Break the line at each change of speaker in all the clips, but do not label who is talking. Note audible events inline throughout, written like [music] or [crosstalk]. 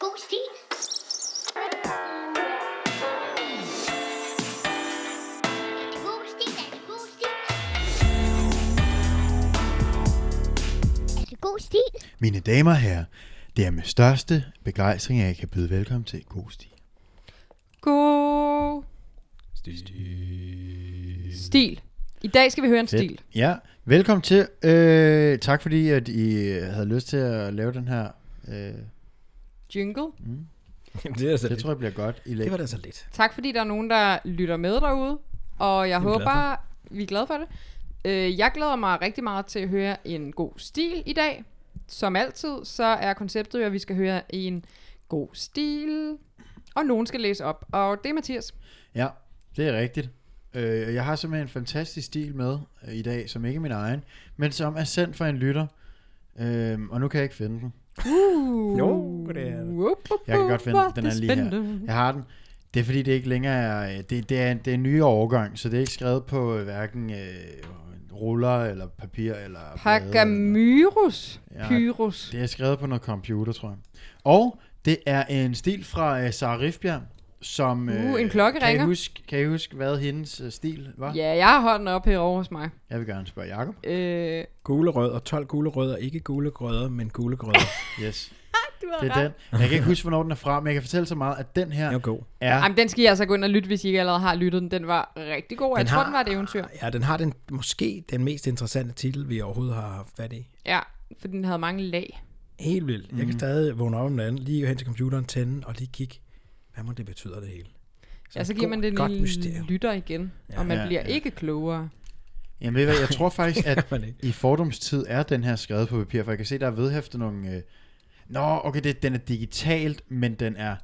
Boosti. Sti.
Mine damer og herrer, det er med største begejstring, at jeg kan byde velkommen til God Stil.
God stil. I dag skal vi høre en
Fedt.
stil.
Ja, velkommen til. Øh, tak fordi, at I øh, havde lyst til at lave den her. Øh,
Jingle.
det, er så
det tror jeg bliver godt i
det
læg.
var da så lidt.
Tak fordi der er nogen, der lytter med derude. Og jeg
vi glade
håber, vi er glade for det. Øh, Jeg glæder mig rigtig meget til at høre en god stil i dag. Som altid, så er konceptet jo, at vi skal høre en god stil. Og nogen skal læse op. Og det er Mathias.
Ja, det er rigtigt. Øh, og jeg har simpelthen en fantastisk stil med øh, i dag, som ikke er min egen, men som er sendt fra en lytter. Øh, og nu kan jeg ikke finde den.
Uh,
Jo, det er det.
Whoop, whoop,
Jeg kan godt finde den.
whoop,
Den
det
er lige her.
spændende.
Jeg har den. Det er fordi, det ikke længere er... øh, Det, det, er, det er en ny årgang, så det er ikke skrevet på øh, hverken øh, ruller eller papir eller... blade eller noget.
Pagamyrus
Ja,
Pyrus.
Det er skrevet på noget computer, tror jeg. Og det er en stil fra øh, Sara Rifbjerg, som... øh,
Uh, en klokke
kan I
ringer.
huske, kan I huske, hvad hendes øh, stil var?
Ja, jeg har hånden op herovre hos mig.
Jeg vil gerne spørge Jacob.
Øh,
Gule rødder, 12 gule rødder, ikke gule grødder, men gule grødder.
Yes,
du har
det er den. Jeg kan ikke huske, hvornår den er fra, men jeg kan fortælle så meget, at den
Den
her
er god.
er...
Jamen, den skal I altså gå ind og lytte, hvis I ikke allerede har lyttet den. Den var rigtig god. Den jeg
Den
tror,
har-
den var et eventyr.
Ja, den har den måske den mest interessante titel, vi overhovedet har haft fat i.
Ja, for den havde mange lag.
Helt vildt. Mm. Jeg
Mhm.
kan stadig vågne op om natten, lige gå hen til computeren, tænde og lige kigge. Hvad må det betyder det hele?
Ja, så
et
giver
godt-
man den
godt
lille
mysterium.
lytter igen, ja, og man
Ja,
bliver
ja.
ikke klogere.
Jamen ved I hvad, jeg tror faktisk, at
[laughs]
man ikke.
i fordomstid er den her skrevet på papir, for jeg kan se, der er vedhæftet nogle... Øh... Nå, okay, det, den er digitalt, men den er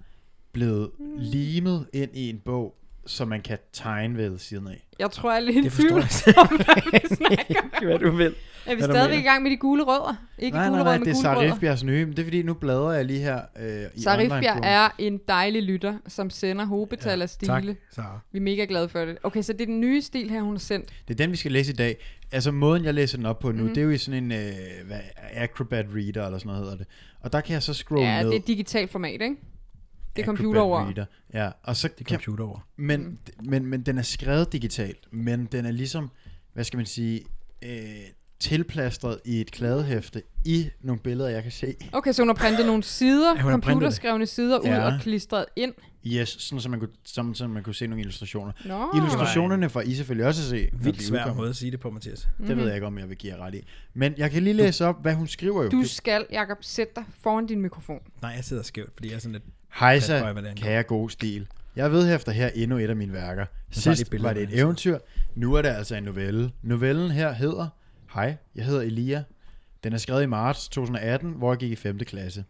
blevet limet ind i en bog, så man kan tegne ved siden af.
Jeg tror, jeg er lidt i
Det forstår
tvivl,
jeg
om hvad
[laughs]
vi snakker om.
Hvad du vil.
Er vi
Hvad du
stadigvæk i
mener.
gang med de gule rødder? Ikke
Nej,
gule
nej, nej,
rødder, men
det er
gule
Sarah
rødder.
Rifbjergs nye, men det er fordi, nu bladrer jeg lige her øh, i
Sarifbjerg
online
er en dejlig lytter, som sender hovedbetal af
Tak,
stile.
Sara.
Vi er mega glade for det. Okay, så det er den nye stil her, hun har sendt.
Det er den, vi skal læse i dag. Altså måden, jeg læser den op på
Mhm.
nu, mm. det er jo i sådan en øh, hvad, Acrobat Reader, eller sådan noget hedder det. Og der kan jeg så scrolle
Ja,
ned.
det er digitalt format, ikke? Det er
Acrobat
computerord.
Reader. Ja, og så
Det er
kan,
computer over.
Men, mm. men, men den er skrevet digitalt, men den er ligesom, hvad skal man sige, øh, tilplastret i et kladehæfte i nogle billeder, jeg kan se.
Okay, så hun har printet nogle sider,
Ja, hun har printet det.
computerskrevne sider ud
Ja.
og klistret ind.
Yes, sådan så man kunne, sådan, så man kunne se nogle illustrationer.
Nå.
Illustrationerne får I selvfølgelig også at se. når
Vildt
de
svær
udkommer.
måde at sige det på, Mathias.
Det ved jeg ikke, om jeg vil give jer ret i. Men jeg kan lige læse op, hvad hun skriver jo.
Du skal, Jakob, sætte dig foran din mikrofon.
Nej, jeg sidder skævt, fordi jeg er sådan lidt... Bad boy, hvad det
Hejsa,
angår.
kære god stil. Jeg vedhæfter her endnu et af mine værker.
bare lige
Sidst
billeder
var det
med
et
hendes
eventyr, nu er det altså en novelle. Novellen her hedder Hej, jeg hedder Elia. Den er skrevet i marts 2018, hvor jeg gik i 5. klasse.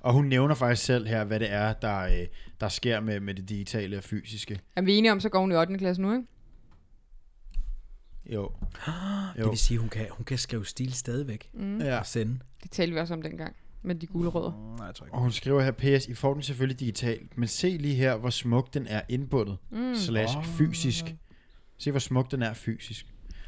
Og hun nævner faktisk selv her, hvad det er, der, øh, der sker med, med det digitale og fysiske.
Er vi enige om, så går hun i 8. klasse nu, ikke?
[gasps] Jo.
Det vil sige, hun kan, hun kan skrive stil stadigvæk mm.
Ja.
og sende.
Det talte vi også om dengang med de gule rødder.
Mm, Nej, jeg tror ikke.
Og hun skriver her, PS, I får den selvfølgelig digitalt, men se lige her, hvor smuk den er indbundet, mm. slash fysisk. Se, hvor smuk den er fysisk.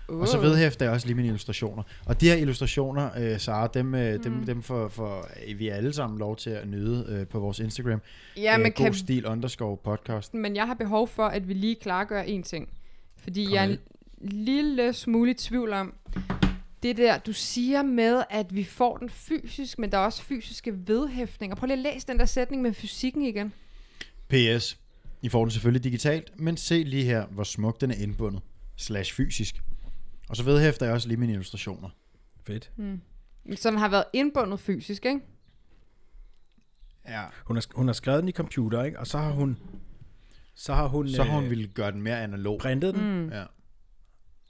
Uh.
Og så vedhæfter jeg også lige mine illustrationer. Og de her illustrationer, øh, Sara, dem, øh,
Mm.
dem, dem får, får øh, vi alle sammen lov til at nyde øh, på vores Instagram.
ja, men,
øh, god
kan,
stil underscore podcast.
men jeg har behov for, at vi lige klargør en ting. Fordi jeg er en lille smule i tvivl om, det der, du siger med, at vi får den fysisk, men der er også fysiske vedhæftninger. Prøv lige at læse den der sætning med fysikken igen.
PS. I får den selvfølgelig digitalt, men se lige her, hvor smuk den er indbundet. Slash fysisk. Og så vedhæfter jeg også lige mine illustrationer.
Fedt.
Mm. Så den har været indbundet fysisk, ikke?
Ja.
Hun har, hun har skrevet den i computer, ikke? Og så har hun... Så har hun,
Så har hun
øh,
ville gøre den mere analog.
printet den mm.
Ja.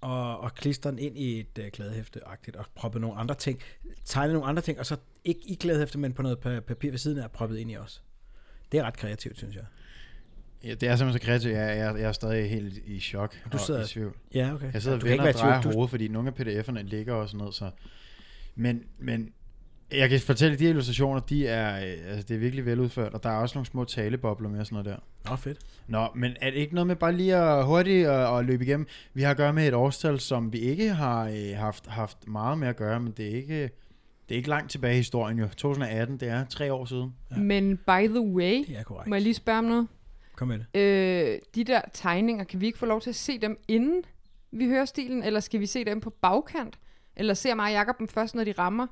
og, og klistret den ind i et øh, klædehæfte-agtigt og proppet nogle andre ting. Tegnet nogle andre ting, og så ikke i klædehæfte, men på noget pa- papir ved siden af og proppet ind i os. Det er ret kreativt, synes jeg.
ja. Det er simpelthen så kreativt. Jeg, jeg, jeg er stadig helt i chok
Du
og
sidder-
i tvivl.
Ja, okay.
Jeg sidder
ja,
og
du kan ikke
vender og
være i tvivl.
drejer
Du-
hovedet, fordi nogle af pdf'erne ligger og sådan noget, så... Men, men jeg kan fortælle, at de her illustrationer, de er, øh, altså, det er virkelig veludført, og der er også nogle små talebobler med og sådan noget der.
Nå, fedt.
Nå, men er det ikke noget med bare lige at hurtigt og, og løbe igennem? øh, Vi har at gøre med et årstal, som vi ikke har øh, haft, haft meget med at gøre, men det er ikke, det Det er ikke langt tilbage i historien jo. 2018, det er tre år siden.
Ja.
Men by the way,
Det er korrekt.
må jeg lige spørge om noget?
Kom med det.
Øh, de der tegninger, kan vi ikke få lov til at se dem inden vi hører stilen, eller skal vi se dem på bagkant? Eller ser mig og Jacob dem først, når de rammer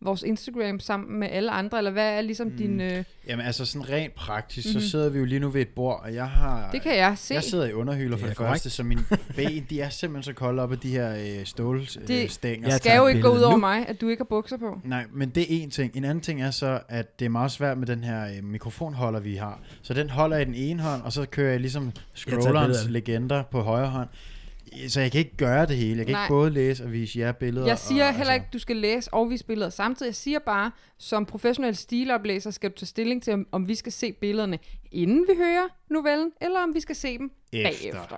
vores Instagram sammen med alle andre, eller hvad er ligesom mm. din... Øh,
Jamen altså sådan rent praktisk,
Mhm.
mm-hmm. så sidder vi jo lige nu ved et bord, og jeg har...
det kan jeg se.
Jeg sidder i underhylder for
Det er
det
korrekt.
første, så mine ben, de er simpelthen så kolde op af de her øh, stålstænger. Øh,
Det-
stænger.
Jeg
Det skal
tager
jo
et
ikke gå ud
billede
over
nu.
mig, at du ikke har bukser på.
Nej, men det er en ting. En anden ting er så, at det er meget svært med den her øh, mikrofonholder, vi har. Så den holder jeg i den ene hånd, og så kører jeg ligesom
billede af
scrollerens
det.
legender på højre hånd. Så jeg kan ikke gøre det hele. Jeg kan
Nej.
ikke både læse og vise jer billeder.
Jeg siger
og, altså-
heller ikke, du skal læse og vise billeder samtidig. Jeg siger bare, som professionel stiloplæser skal du tage stilling til, om- om vi skal se billederne, inden vi hører novellen, eller om vi skal se dem
Efter,
bagefter.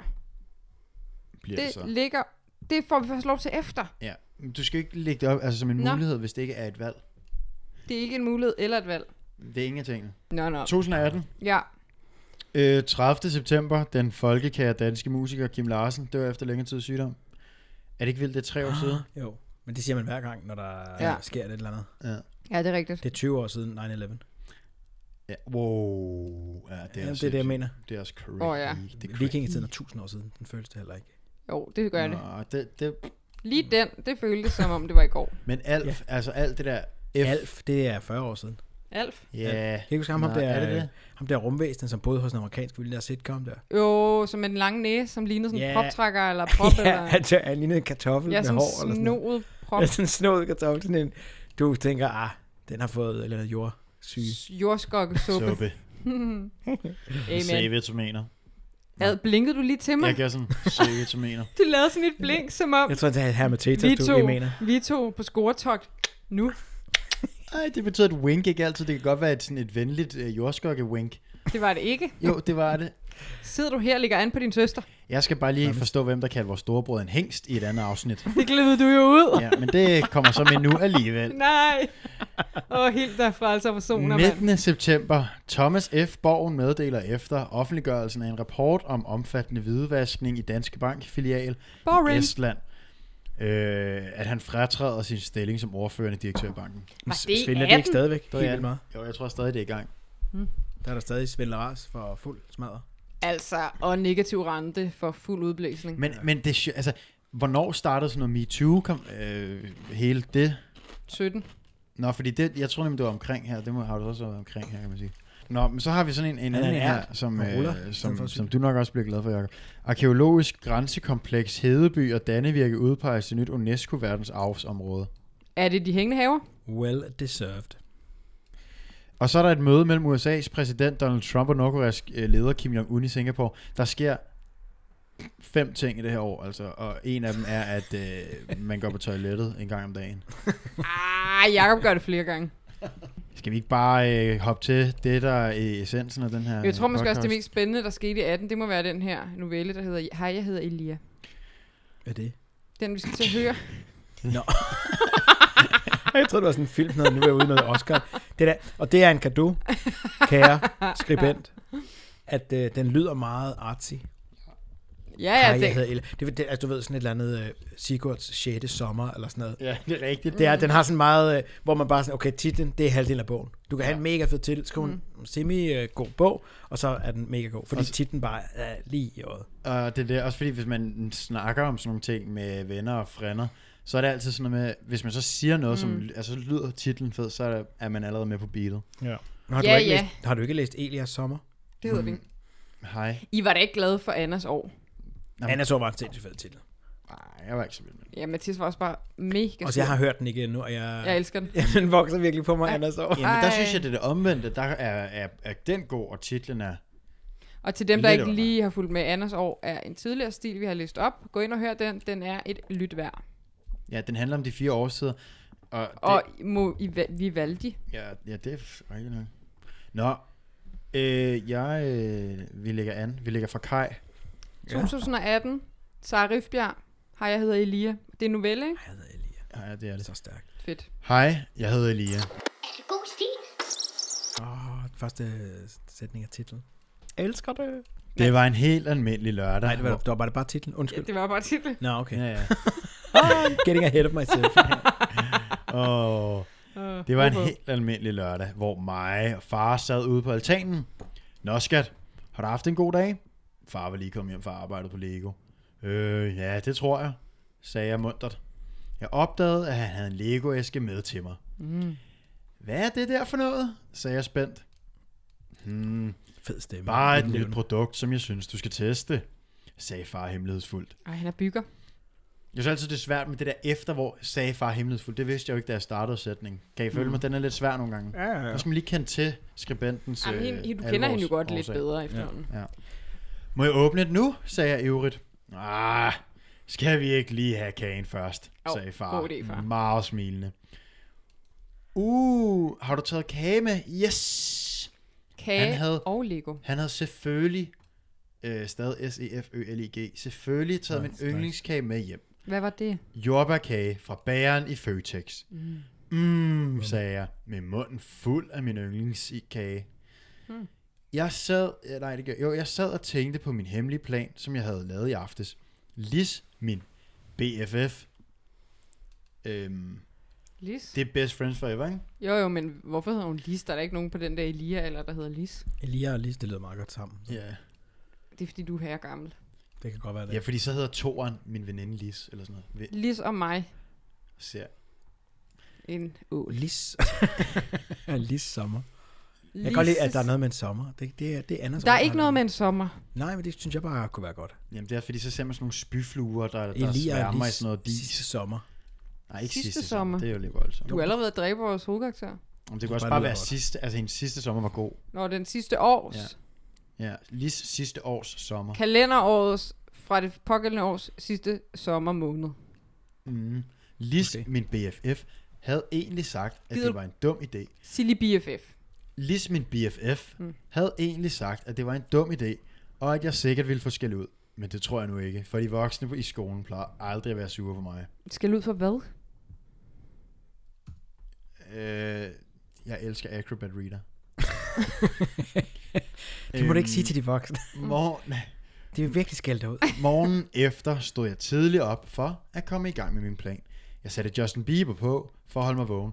Bliver det,
Det
så.
ligger... Det får vi først lov til efter.
Ja. Men Du skal jo ikke lægge det op altså, som en
Nå.
mulighed, hvis det ikke er et valg.
Det er ikke en mulighed eller et valg.
Det er ingen af tingene.
Nå, nå.
2018.
Ja.
Øh, 30. september, den folkekære danske musiker Kim Larsen dør efter længere tids sygdom. Er det ikke vildt, det er tre år siden?
Ah, Jo, men det siger man hver gang, når der
Ja.
ja. sker et eller andet.
Ja.
ja, det er rigtigt.
Det er 20 år siden 9-11. Ja, det
[gasps] ja. Wow. Ja, det er,
er, det, er
sindssygt.
det, jeg mener.
Det er også crazy.
Åh, ja.
Det er
Vikingetiden er 1000 år siden. Den føles det heller ikke.
Jo, det gør det.
Nå, det, det.
Lige den, det føltes som om, det var i går.
Men Alf,
Ja.
ja. altså alt det der F.
Alf, det er 40 år siden.
Alf?
Ja.
Kan I huske ham,
Nå,
ham der, øh,
er det det?
ham der rumvæsen, som boede hos en amerikansk film, der sitcom der?
Jo, som med den lange næse, som lignede sådan en
Ja.
proptrækker eller prop.
[laughs] ja,
eller,
han, tør- han lignede en kartoffel
ja,
med
som
hår. eller sådan noget.
snoet prop.
[laughs] Ja, sådan en snået kartoffel. Sådan en, du tænker, ah, den har fået et eller andet jordsyge.
Jordskokkesuppe.
Suppe.
Amen.
C-vitaminer.
Ad, blinkede du lige til mig?
Jeg gør
[laughs]
sådan, C-vitaminer.
Du lavede sådan et blink, som om
Jeg tror, det er her med
vi
Teta,
to,
du mener.
vi to på scoretogt nu.
Ej, det betyder et wink ikke altid. Det kan godt være et, sådan et venligt øh, jordskokke-wink.
Det var det ikke.
Jo, det var det.
Sidder du her og ligger an på din søster?
Jeg skal bare lige forstå, hvem der kaldte vores storebror en hængst i et andet [laughs] afsnit.
Det glidede du jo ud.
Ja, men det kommer så med nu alligevel.
Nej. Åh, helt derfra altså personer, mand.
19. september. Thomas F. Borgen meddeler efter offentliggørelsen af en rapport om omfattende hvidvaskning i Danske Bank filial i
Boring.
Estland, øh, at han fratræder sin stilling som ordførende direktør i banken.
Var det i
Svindler det ikke
18?
stadigvæk? Helt
Det er
vildt meget.
Jo, jeg tror stadig, det er i gang.
Der er der stadig svindleras for fuld smadret.
Altså, og negativ rente for fuld udblæsning.
Men, men det, er sjo- altså, hvornår startede sådan noget MeToo? Kom, øh, hele det?
17.
Nå, fordi det, jeg tror nemlig, det var omkring her. Det må, har du også været omkring her, kan man sige. Nå, men så har vi sådan en, en
Han er
anden
en
her,
ært.
som,
Han ruller, i
øh,
stedet for
som,
at cykle.
som du nok også bliver glad for, Jacob. Arkeologisk grænsekompleks Hedeby og Dannevirke udpeges til nyt UNESCO-verdensarvsområde.
Er det de hængende haver?
Well deserved.
Og så er der et møde mellem USA's præsident Donald Trump og Nordkoreas øh, leder Kim Jong-un i Singapore. Der sker fem ting i det her år, altså, og en af dem er, at øh, man går på toilettet en gang om dagen.
Ah, Jacob gør det flere gange.
Skal vi ikke bare øh, hoppe til det, der er øh, essensen af den her
Jeg tror
øh,
måske også, det
podcast?
mest spændende, der skete i 18, det må være den her novelle, der hedder Hej, jeg hedder Elia.
Hvad er det?
Den, vi skal til at høre.
Jeg troede, det var sådan en film, når nu er jeg ude i noget Oscar. Det der, og det er en gave, kære skribent, at øh, den lyder meget artsy.
Ja,
Hej,
ja,
jeg
det,
hedder Ella. Det, er- det, er- altså, du ved, sådan et eller andet øh, Sigurds 6. sommer, eller sådan noget.
Ja, det er rigtigt.
Mm.
Det er, den har sådan meget, øh, hvor man bare sådan, okay, titlen, det er halvdelen af bogen. Du kan have en mega fed titel, skrive mm. en semi-god bog, og så er den mega god, fordi titlen bare er lige i øjet.
Og det er det, også fordi, hvis man snakker om sådan nogle ting med venner og frænder, så er det altid sådan noget med, hvis man så siger noget, mm. som altså, så lyder titlen fed, så er, det, er man allerede med på beatet.
Ja. Har, du
Ja,
ikke
ja.
Læst, har du ikke læst Elias sommer?
det hedder vi.
Hej.
I var da ikke glade for Annas år.
Jamen.
Anna så var en sindssygt fed titel.
Nej, jeg var ikke så vild med det.
Ja, Mathias var også bare mega
Og så
sur.
jeg har hørt den ikke endnu, og jeg,
Jeg elsker den.
Ja, [laughs] den vokser virkelig på mig, Anna så.
Jamen, der
Ej.
synes jeg, det er det omvendte. Der er, er, er den god, og titlen er...
Og til dem, der
Lidt
ikke
under.
lige har fulgt med, Anders år er en tidligere stil, vi har læst op. Gå ind og hør den. Den er et lyt værd.
Ja, den handler om de fire årstider. Og, det,
Og må, I, va- Vivaldi.
Ja, ja, det er f- rigtig nok. Nå, øh, jeg, øh, vi lægger an. Vi lægger fra Kaj.
2018. Sara Rifbjerg. Hej, jeg hedder Elia. Det er en novelle, ikke?
Jeg hedder Elia.
Ja, det er
Det er
det.
så stærkt.
Fedt.
Hej, jeg hedder Elia.
Er det god stil?
Åh, den første øh, sætning af titlen. Elsker det.
Det var en helt almindelig lørdag.
Nej, det var, det var bare, bare titlen.
Ja,
Undskyld.
det var bare titlen.
Nå, okay.
Ja, ja.
Getting ahead of myself.
[laughs] Åh,
Uh,
Det var en helt almindelig lørdag, hvor mig og far sad ude på altanen. Nå skat, har du haft en god dag? Far var lige kommet hjem fra arbejdet på Lego. Øh, ja, det tror jeg, sagde jeg muntert. Jeg opdagede, at han havde en Lego-æske med til mig.
Mm.
Hvad er det der for noget? sagde jeg spændt. Hmm,
Fed stemme.
bare et nyt
Indlevende.
produkt, som jeg synes, du skal teste, sagde far hemmelighedsfuldt.
Ej, han er bygger.
Jeg synes altid, det er svært med det der efter, hvor sagde far himmelfuld. Det vidste jeg jo ikke, da jeg startede sætningen. Kan I føle mig? Den er lidt svær nogle gange.
Ja, ja,
Ja. Der
ja.
skal man Ligesom lige kende til skribentens
Jamen,
øh,
hende, du kender
alvors-
hende jo godt lidt
årsag.
bedre efterhånden.
Må jeg åbne det nu, sagde jeg ivrigt. Ah, skal vi ikke lige have kagen først,
Jo,
sagde far,
god idé, far.
meget smilende. Uh, har du taget kage med? Yes!
Kage
Han havde-
og Lego.
Han havde selvfølgelig, øh, stadig S-E-F-Ø-L-I-G, E selvfølgelig taget
Nice,
min
nice.
yndlingskage med hjem.
Hvad var det?
jordbærkage fra bageren i Føtex. Mm. Mm, sagde jeg, med munden fuld af min yndlingskage.
Mm.
Mm. Jeg sad, ja, nej, det gør, jo, jeg sad og tænkte på min hemmelige plan, som jeg havde lavet i aftes. Lis, min BFF. Øhm,
Lis?
det er best friends forever, ikke?
Jo, jo, men hvorfor hedder hun Lis? Der er da ikke nogen på den der Elia eller der hedder Lis.
Elia og Lise, det lyder meget godt sammen.
Ja.
Det er fordi, du er herre gammel.
Det kan godt være det.
Ja, fordi så hedder Toren min veninde Lis, eller sådan noget. Vi
Lis og mig.
ser.
En ål.
[laughs] Lis. Lis sommer. Jeg kan
Lis-
godt lide, at der er noget med en sommer. Det, det, er- det er Anders.
Der er ikke noget med en sommer.
Nej, men det synes jeg bare kunne være godt.
Jamen det er fordi, så ser man sådan nogle spyfluer, der, der sværmer i sådan noget
sidste
dis.
sommer.
Nej, ikke
Sidste
sidste, sommer.
sommer.
Det er jo lidt voldsomt.
Du er allerede dræber vores hovedkarakter.
Jamen, det kunne også
Bare
bare
lyder
være
godt.
sidste, altså hendes sidste sommer var god.
Når den sidste års, ja.
Ja. Ja, lige sidste års sommer.
kalenderårets, fra det pågældende års sidste sommermåned.
Mm. Lis,
Okay.
okay. min BFF, havde egentlig sagt, at
Gider-
det var en dum idé.
Silly BFF.
Lis, min BFF,
Mm.
mm. havde egentlig sagt, at det var en dum idé, og at jeg sikkert ville få skæld ud. Men det tror jeg nu ikke, for de voksne på- i skolen plejer aldrig at være sure på mig.
Skal ud for hvad?
Øh, jeg elsker Acrobat Reader.
[laughs] Det må du ikke sige til de voksne. [laughs]
Øh, Morgen,
Det vil virkelig skælde dig ud.
Morgen efter stod jeg tidligt op for at komme i gang med min plan. Jeg satte Justin Bieber på for at holde mig vågen.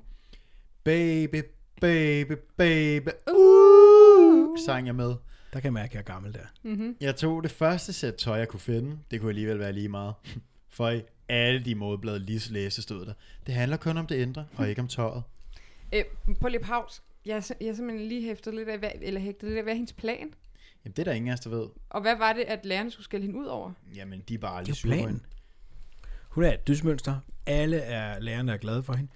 Baby, baby, baby, uh, sang jeg med.
Der kan jeg mærke, at jeg er gammel der.
Mm-hmm.
Jeg tog det første sæt tøj, jeg kunne finde. Det kunne alligevel være lige meget. For i alle de modeblade lige læse stod der. Det handler kun om det indre, og ikke om tøjet.
Øh, på lidt pause. Jeg, er sim- jeg er simpelthen lige hæftet lidt af, hvad, eller hægtet lidt af, hvad er hendes plan?
Jamen, det er der ingen af os, der ved.
Og hvad var det, at lærerne skulle skælde hende ud over?
Jamen, de er bare
Det
aldrig
er
sure på
planen.
hende.
Hun er et dysmønster. Alle er lærerne er glade for hende,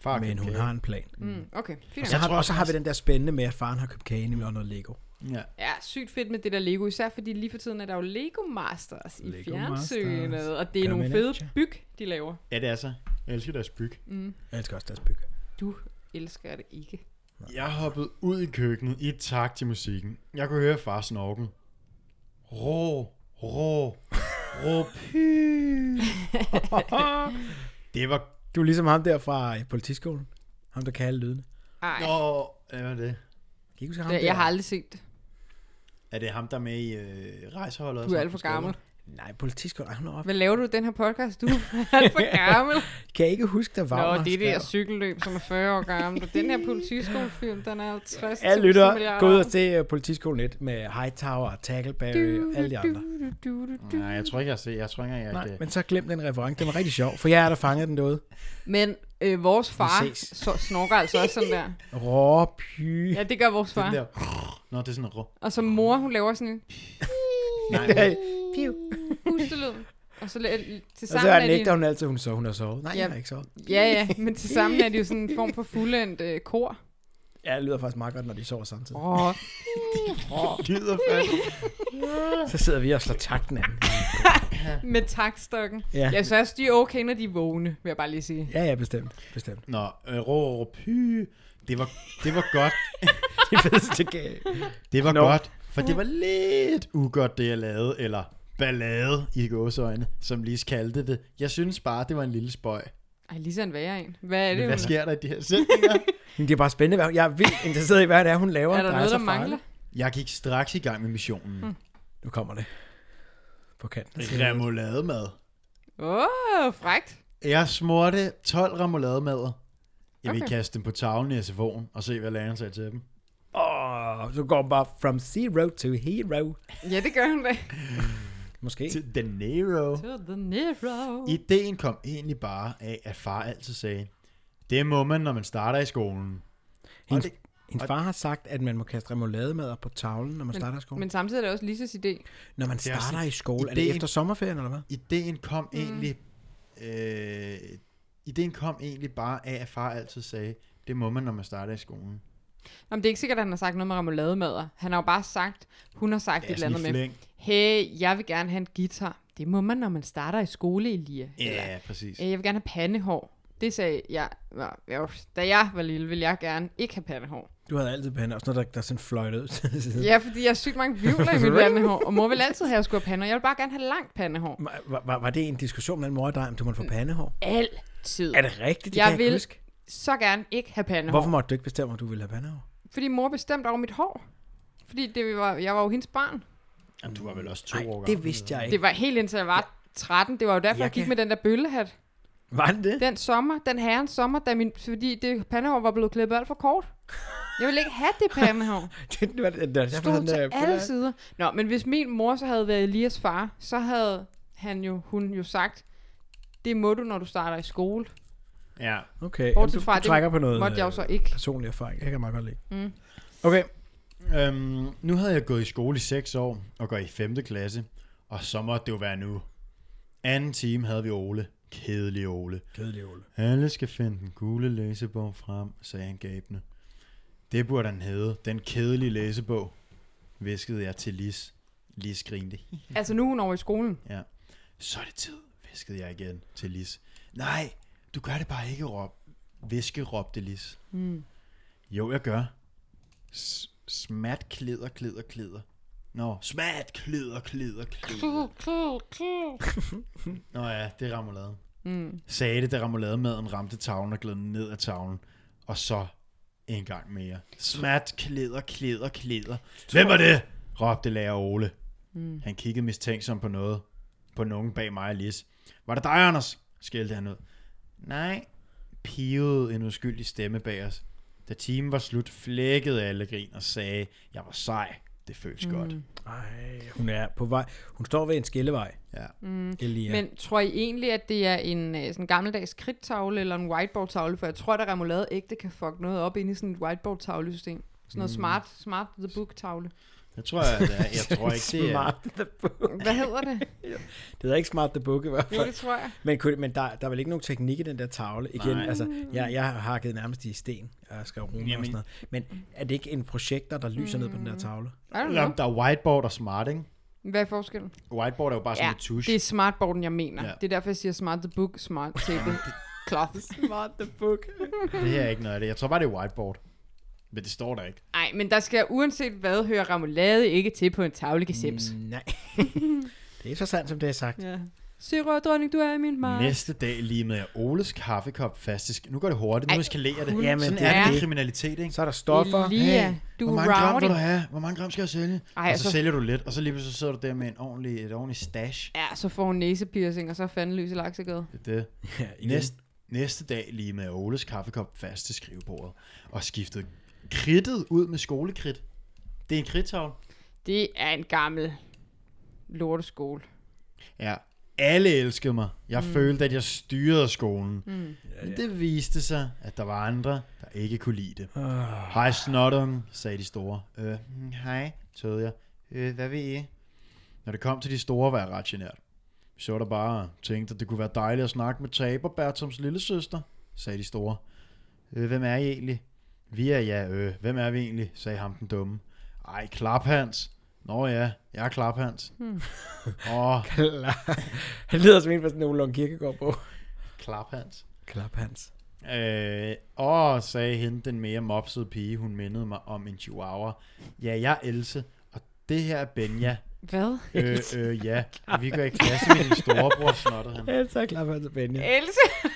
Far,
men
køb
hun
kage.
har en plan.
Mm. Mm. Okay, fint.
Og så,
nok.
Jeg
har,
tror
og så har vi
faktisk-
den der spændende med, at faren har købt kage nemlig og noget Lego.
Ja.
Ja, sygt fedt med det der Lego, især fordi lige for tiden er der jo Lego Masters i
Lego
fjernsynet,
Masters.
og det er
Gør
nogle
man
fede
ikke?
byg, de laver.
ja, det er så. Jeg elsker deres byg.
Mm.
Jeg elsker også deres byg.
Du elsker det ikke.
Jeg hoppede ud i køkkenet i takt til musikken. Jeg kunne høre far snorken. Rå, rå, rå, py. det var...
Du er ligesom ham der fra øh, politiskolen. Ham, der kan alle lydene.
Ej,
Nå, hvad var det?
Kan I ikke huske ham
det,
der?
jeg har aldrig set det.
Er det ham, der er med i øh, rejseholdet? og
Du er
sådan
alt for
forskelligt?
gammel.
Nej, politiskolen. Ej, hun er op.
Hvad laver du i den her podcast? Du er [laughs] alt for gammel.
Kan jeg ikke huske, der var
Nå, det er det der cykelløb, som er 40 år gammel. Og den her politiskolefilm, den er 50
Alle lytter, gå ud og se uh, Politiskolen 1 med Hightower, og Tackleberry og alle de andre.
Nej, jeg tror ikke, jeg har set. Jeg tror ikke, jeg har
Nej,
det.
men så glem den reference. Den var rigtig sjov, for jeg er der fanget den derude.
Men øh, vores far
Vi ses.
så snorker altså også sådan der.
Råpy.
Ja, det gør vores
Den
far.
der... Nå, det er sådan en
[laughs]
rå.
Og så mor, hun laver sådan en
Nej,
Piu.
hustelyd. Og så la- til
Og så er
sammen er
nægter
de,
hun altid, hun så hun har sovet. Nej,
Ja.
jeg har ikke sovet.
ja, ja, men til sammen er de jo sådan en form for fuldendt øh, kor.
Ja, det lyder faktisk meget godt, når de sover samtidig.
Åh,
det lyder fandme.
Så sidder vi og slår takten af.
med takstokken.
Ja.
Ja, så er de okay, når de er vågne, vil jeg bare lige sige.
Ja, ja, bestemt.
[laughs]
Bestemt.
Nå, øh, rå, rå, py. Det var, det var godt.
Det fedeste gav.
Det var
Nå.
no. godt, for det var lidt ugodt, det jeg lavede, eller ballade i gåsøjne, som Lis kaldte det. Jeg synes bare, det var en lille spøj.
Ej, lige sådan værre en. Hvad er det,
Men
hun
hvad sker der i de her sætninger?
Men det er bare spændende. hvad hun- Jeg er vildt interesseret i, hvad det er, hun laver.
er der noget,
så
der mangler?
Jeg gik straks i gang med missionen. Mm.
farligt. Nu kommer det. På kanten.
Remolademad.
Åh, oh, frækt.
Jeg smurte 12 remolademader Jeg vil
Okay.
kaste dem på tavlen i SFO'en og se, hvad læreren sagde til dem.
Åh, så går man bare from zero to hero.
Ja, det gør hun da.
Måske.
Til De Niro.
To the Nero.
Ideen kom egentlig bare af, at far altid sagde, det må man, når man starter i skolen.
Hendes,
Og
hendes far har sagt, at man må kaste remoulademadder på tavlen, når man starter i skolen.
Men samtidig er det også Lisas idé.
når man
det er også
starter
en
i skole, er det
idé.
efter sommerferien, eller hvad?
Ideen kom mm. egentlig... Øh, ideen kom egentlig bare af, at far altid sagde, det må man, når man starter i skolen.
Jamen, det er ikke sikkert, at han har sagt noget med remoulademadder. Han har jo bare sagt, hun har sagt
Ja,
et eller
sådan
andet
i
med,
flæng.
hey, jeg vil gerne have en guitar. Det må man, når man starter i skole, Elia. Eller,
Ja, præcis.
"Øh, jeg vil gerne have pandehår. Det sagde jeg, var- ja, da jeg var lille, ville jeg gerne ikke have pandehår.
Du havde altid pande, også når der, der er sådan fløjt ud. [laughs]
Ja, fordi jeg har sygt mange vivler i mit pandehår, og mor vil altid have, at jeg skulle have pandehår. Jeg vil bare gerne have langt pandehår.
Var, var, var, det en diskussion mellem mor og dig, om du måtte få pandehår?
Altid.
Er det rigtigt? Det
Mm. Jeg
kan jeg
vil-
ikke huske.
Så gerne ikke have pandehår.
Hvorfor måtte du ikke bestemme, om du ville have pandehår?
Fordi mor bestemte over mit hår. Fordi det var, jeg var jo hendes barn.
Jamen, du var vel også to år gammel.
det vidste jeg ikke.
Det var helt indtil jeg var 13. Det var jo derfor,
Jeg
jeg, jeg gik
kan-
med den der bøllehat.
Var det det?
Den sommer, den herrens sommer, da min, fordi det pandehår var blevet klippet alt for kort. Jeg ville ikke have det pandehår.
[laughs] Det var det, der,
Stod til alle sider. Nå, men hvis min mor så havde været Elias far, så havde han jo, hun jo sagt, det må du, når du starter i skole.
Ja.
Okay, jamen,
Bortset
du,
fra,
du
det
trækker på noget
Måtte jeg jo
øh,
så ikke.
personlig erfaring. Det kan jeg meget godt lide.
Mm.
Okay,
Øhm, nu havde jeg gået i skole i 6 år og går i 5. klasse, og så måtte det jo være nu. Anden time havde vi Ole. Kedelig Ole.
kedelig Ole.
Alle skal finde den gule læsebog frem, sagde han gabende. Det burde han hedde, den kedelige læsebog, viskede jeg til Lis. Lis grinte.
Altså nu er hun over i skolen.
Ja. Så er det tid, viskede jeg igen til Lis. Nej, du gør det bare ikke, Rob. Viske, råbte Lis.
Mm.
Jo, jeg gør. S- smat, klæder, klæder, klæder. Nå, smat, klæder, klæder, klæder. Nå ja, det er remouladen.
Mm.
Sagde det, da remoulade-maden ramte tavlen og gled ned ad tavlen. Og så en gang mere. Smat, klæder, klæder, klæder. Hvem er det? råbte lærer Ole. Mm. Han kiggede mistænksomt på noget. På nogen bag mig og Lis. Var det dig, Anders? skældte han ud. Nej, pivede en uskyldig stemme bag os. Da timen var slut, flækkede alle grin og sagde, jeg var sej. Det føles mm. godt.
Ej, hun er på vej. Hun står ved en skillevej,
Ja.
Elia.
Mm. Men tror I egentlig, at det er en øh, sådan gammeldags kridttavle eller en whiteboard-tavle? For jeg tror, at remoulade ægte kan fuck noget op inde i sådan et whiteboard-tavlesystem. Sådan
Mm.
noget smart, smart the book-tavle.
Jeg tror, jeg, det er. jeg tror ikke, det er...
Smart the book.
Hvad hedder
[laughs]
det?
[laughs] Det er ikke smart the book i hvert
Jo,
fald.
det tror jeg.
Men, kunne, men der, der er vel ikke nogen teknik i den der tavle? Igen,
Nej.
altså, jeg, jeg har hakket nærmest i sten og skrev runer
Jamen.
og sådan noget. Men er det ikke en projekter, der lyser ned på den der
Mm. I
tavle?
don't
Eller om
know.
der er whiteboard og smart, ikke?
Hvad er forskellen?
Whiteboard er jo bare sådan et tusch.
det er smartboarden, jeg mener.
Ja.
Ja. Det er derfor, jeg siger smart the book, smart
[laughs]
table, cloth.
Smart the book.
Det her er ikke noget af det. Jeg tror bare, det er whiteboard. Men det står der ikke.
Nej, men der skal uanset hvad høre remoulade ikke til på en tavle gesims. Mm.
Nej. [laughs] det er så sandt, som det er sagt.
Ja. Sirød, dronning, du er min mand.
Næste dag lige med Oles kaffekop fast. i sk- Nu går det hurtigt. Nu
Ej,
eskalerer det.
hun-
Jamen,
Jamen,
sådan
det
det er
er
det
det.
kriminalitet, ikke?
Så er der stoffer.
Lia,
Hey,
du
Hvor
er
mange gram vil
rowdy.
du have? Hvor mange gram skal jeg sælge? Ej,
Ej,
og så
altså-
sælger du lidt, og så lige pludselig sidder du der med en ordentlig, et ordentligt stash.
Ja, så får hun næsepiercing, og så er fanden løs i laksegade.
Det er det.
[laughs] Ja, igen.
Næste, næste dag lige med Oles kaffekop fast til skrivebordet. Og skiftet kridtet ud med skolekridt. Det er en kridtavle.
Det er en gammel lorteskole.
Ja. Alle elskede mig. Jeg mm. følte, at jeg styrede skolen. Mm. Men det viste sig, at der var andre, der ikke kunne lide det. Oh. Hej snotteren, sagde de store. Øh, "Mm, hej, tøvede jeg. Øh, hvad ved I? Når det kom til de store, var jeg ret genert. Vi så der bare og tænkte, at det kunne være dejligt at snakke med Taber Bertrams lillesøster, sagde de store. Øh, hvem er I egentlig? Vi er ja, øh, hvem er vi egentlig? sagde ham den dumme. Ej, Klaphans. Nå ja, jeg er Klaphans. Hmm. Åh,
[laughs] Han lyder som en fra sådan en Ole Kirkegaard på.
Klaphans.
Klap hans.
Øh, åh, sagde hende, den mere mopsede pige, hun mindede mig om en chihuahua. Ja, jeg er Else, og det her er Benja.
Hvad?
øh, øh, ja, vi går i klasse med din storebror, snottede han.
Ja, så er klap hans og Benja.
Else [laughs]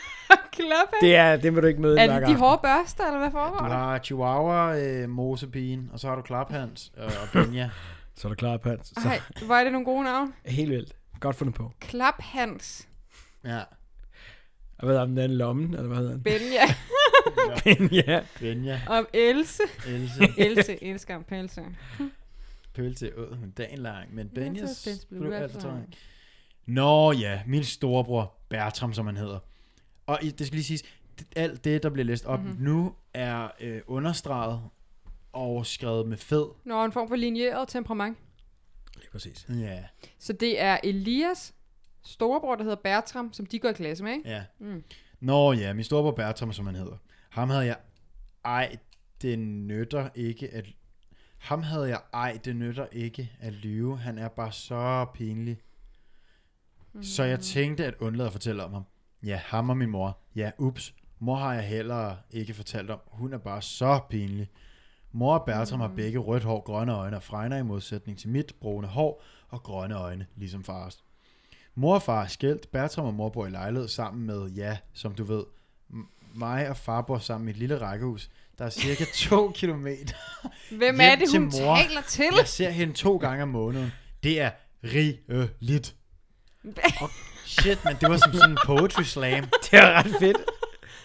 Klop
Det er, det vil du ikke møde
Er
hver
det de
gang.
hårde børster, eller hvad
Du
foregår der?
har Chihuahua, øh, Mosepigen, og så har du Klaphans øh, og Benja.
Så er der klap hans. Så
Ej, hvor er det nogle gode navn?
helt vildt. Godt fundet på.
Klap Hans,
Ja.
Og hvad hedder den anden lommen, eller hvad hedder den?
Benja.
ja.
Benja,
[laughs] Om Else.
Else,
Else elsker om pelse.
pølse ud dagen lang, men
så
Benjas
Benjas blev
blev
alt
alt for
for
trang. Nå ja, min storebror Bertram, som han hedder. Og i- det skal lige siges, det- alt det, der bliver læst op mm-hmm. nu, er øh, understreget og skrevet med fed.
Når en form for linjeret temperament.
Lige præcis.
Ja,
Så det er Elias storebror, der hedder Bertram, som de går i klasse med, ikke?
ja.
Mm.
Nå ja, min storebror Bertram, som han hedder. Ham havde jeg... Ej, det nytter ikke at... Ham havde jeg... Ej, det nytter ikke at lyve. Han er bare så pinlig. Mm. Så jeg tænkte at undlade at fortælle om ham. Ja, ham og min mor. Ja, ups. Mor har jeg heller ikke fortalt om. Hun er bare så pinlig. Mor og Bertram mm. har begge rødt hår, grønne øjne og fregner i modsætning til mit brune hår og grønne øjne, ligesom fars. Mor og far er skilt. Bertram og mor bor i lejlighed sammen med, ja, som du ved, m- mig og far bor sammen i et lille rækkehus, der er
[laughs]
cirka 2 kilometer.
Hvem
Hjem
er det,
til
hun
mor.
taler til?
Jeg ser hende to gange om måneden. Det er rigeligt. Og shit, men det var som sådan en poetry
[laughs]
slam.
Det er ret fedt.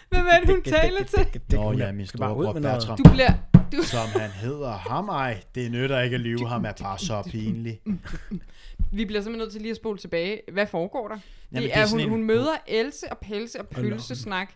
Hvem er det, hun taler
[laughs]
til?
Nå ja, min storebror Bertram,
Du bliver... Du,
som han hedder. Ham ej, det nytter ikke at lyve. Ham er bare så
[laughs]
pinlig.
vi bliver simpelthen nødt til lige at spole tilbage. Hvad foregår der? Det
det
Jamen,
er
er, det er hun,
sådan en-
hun møder Else og Pelse og
nå.
Pølsesnak.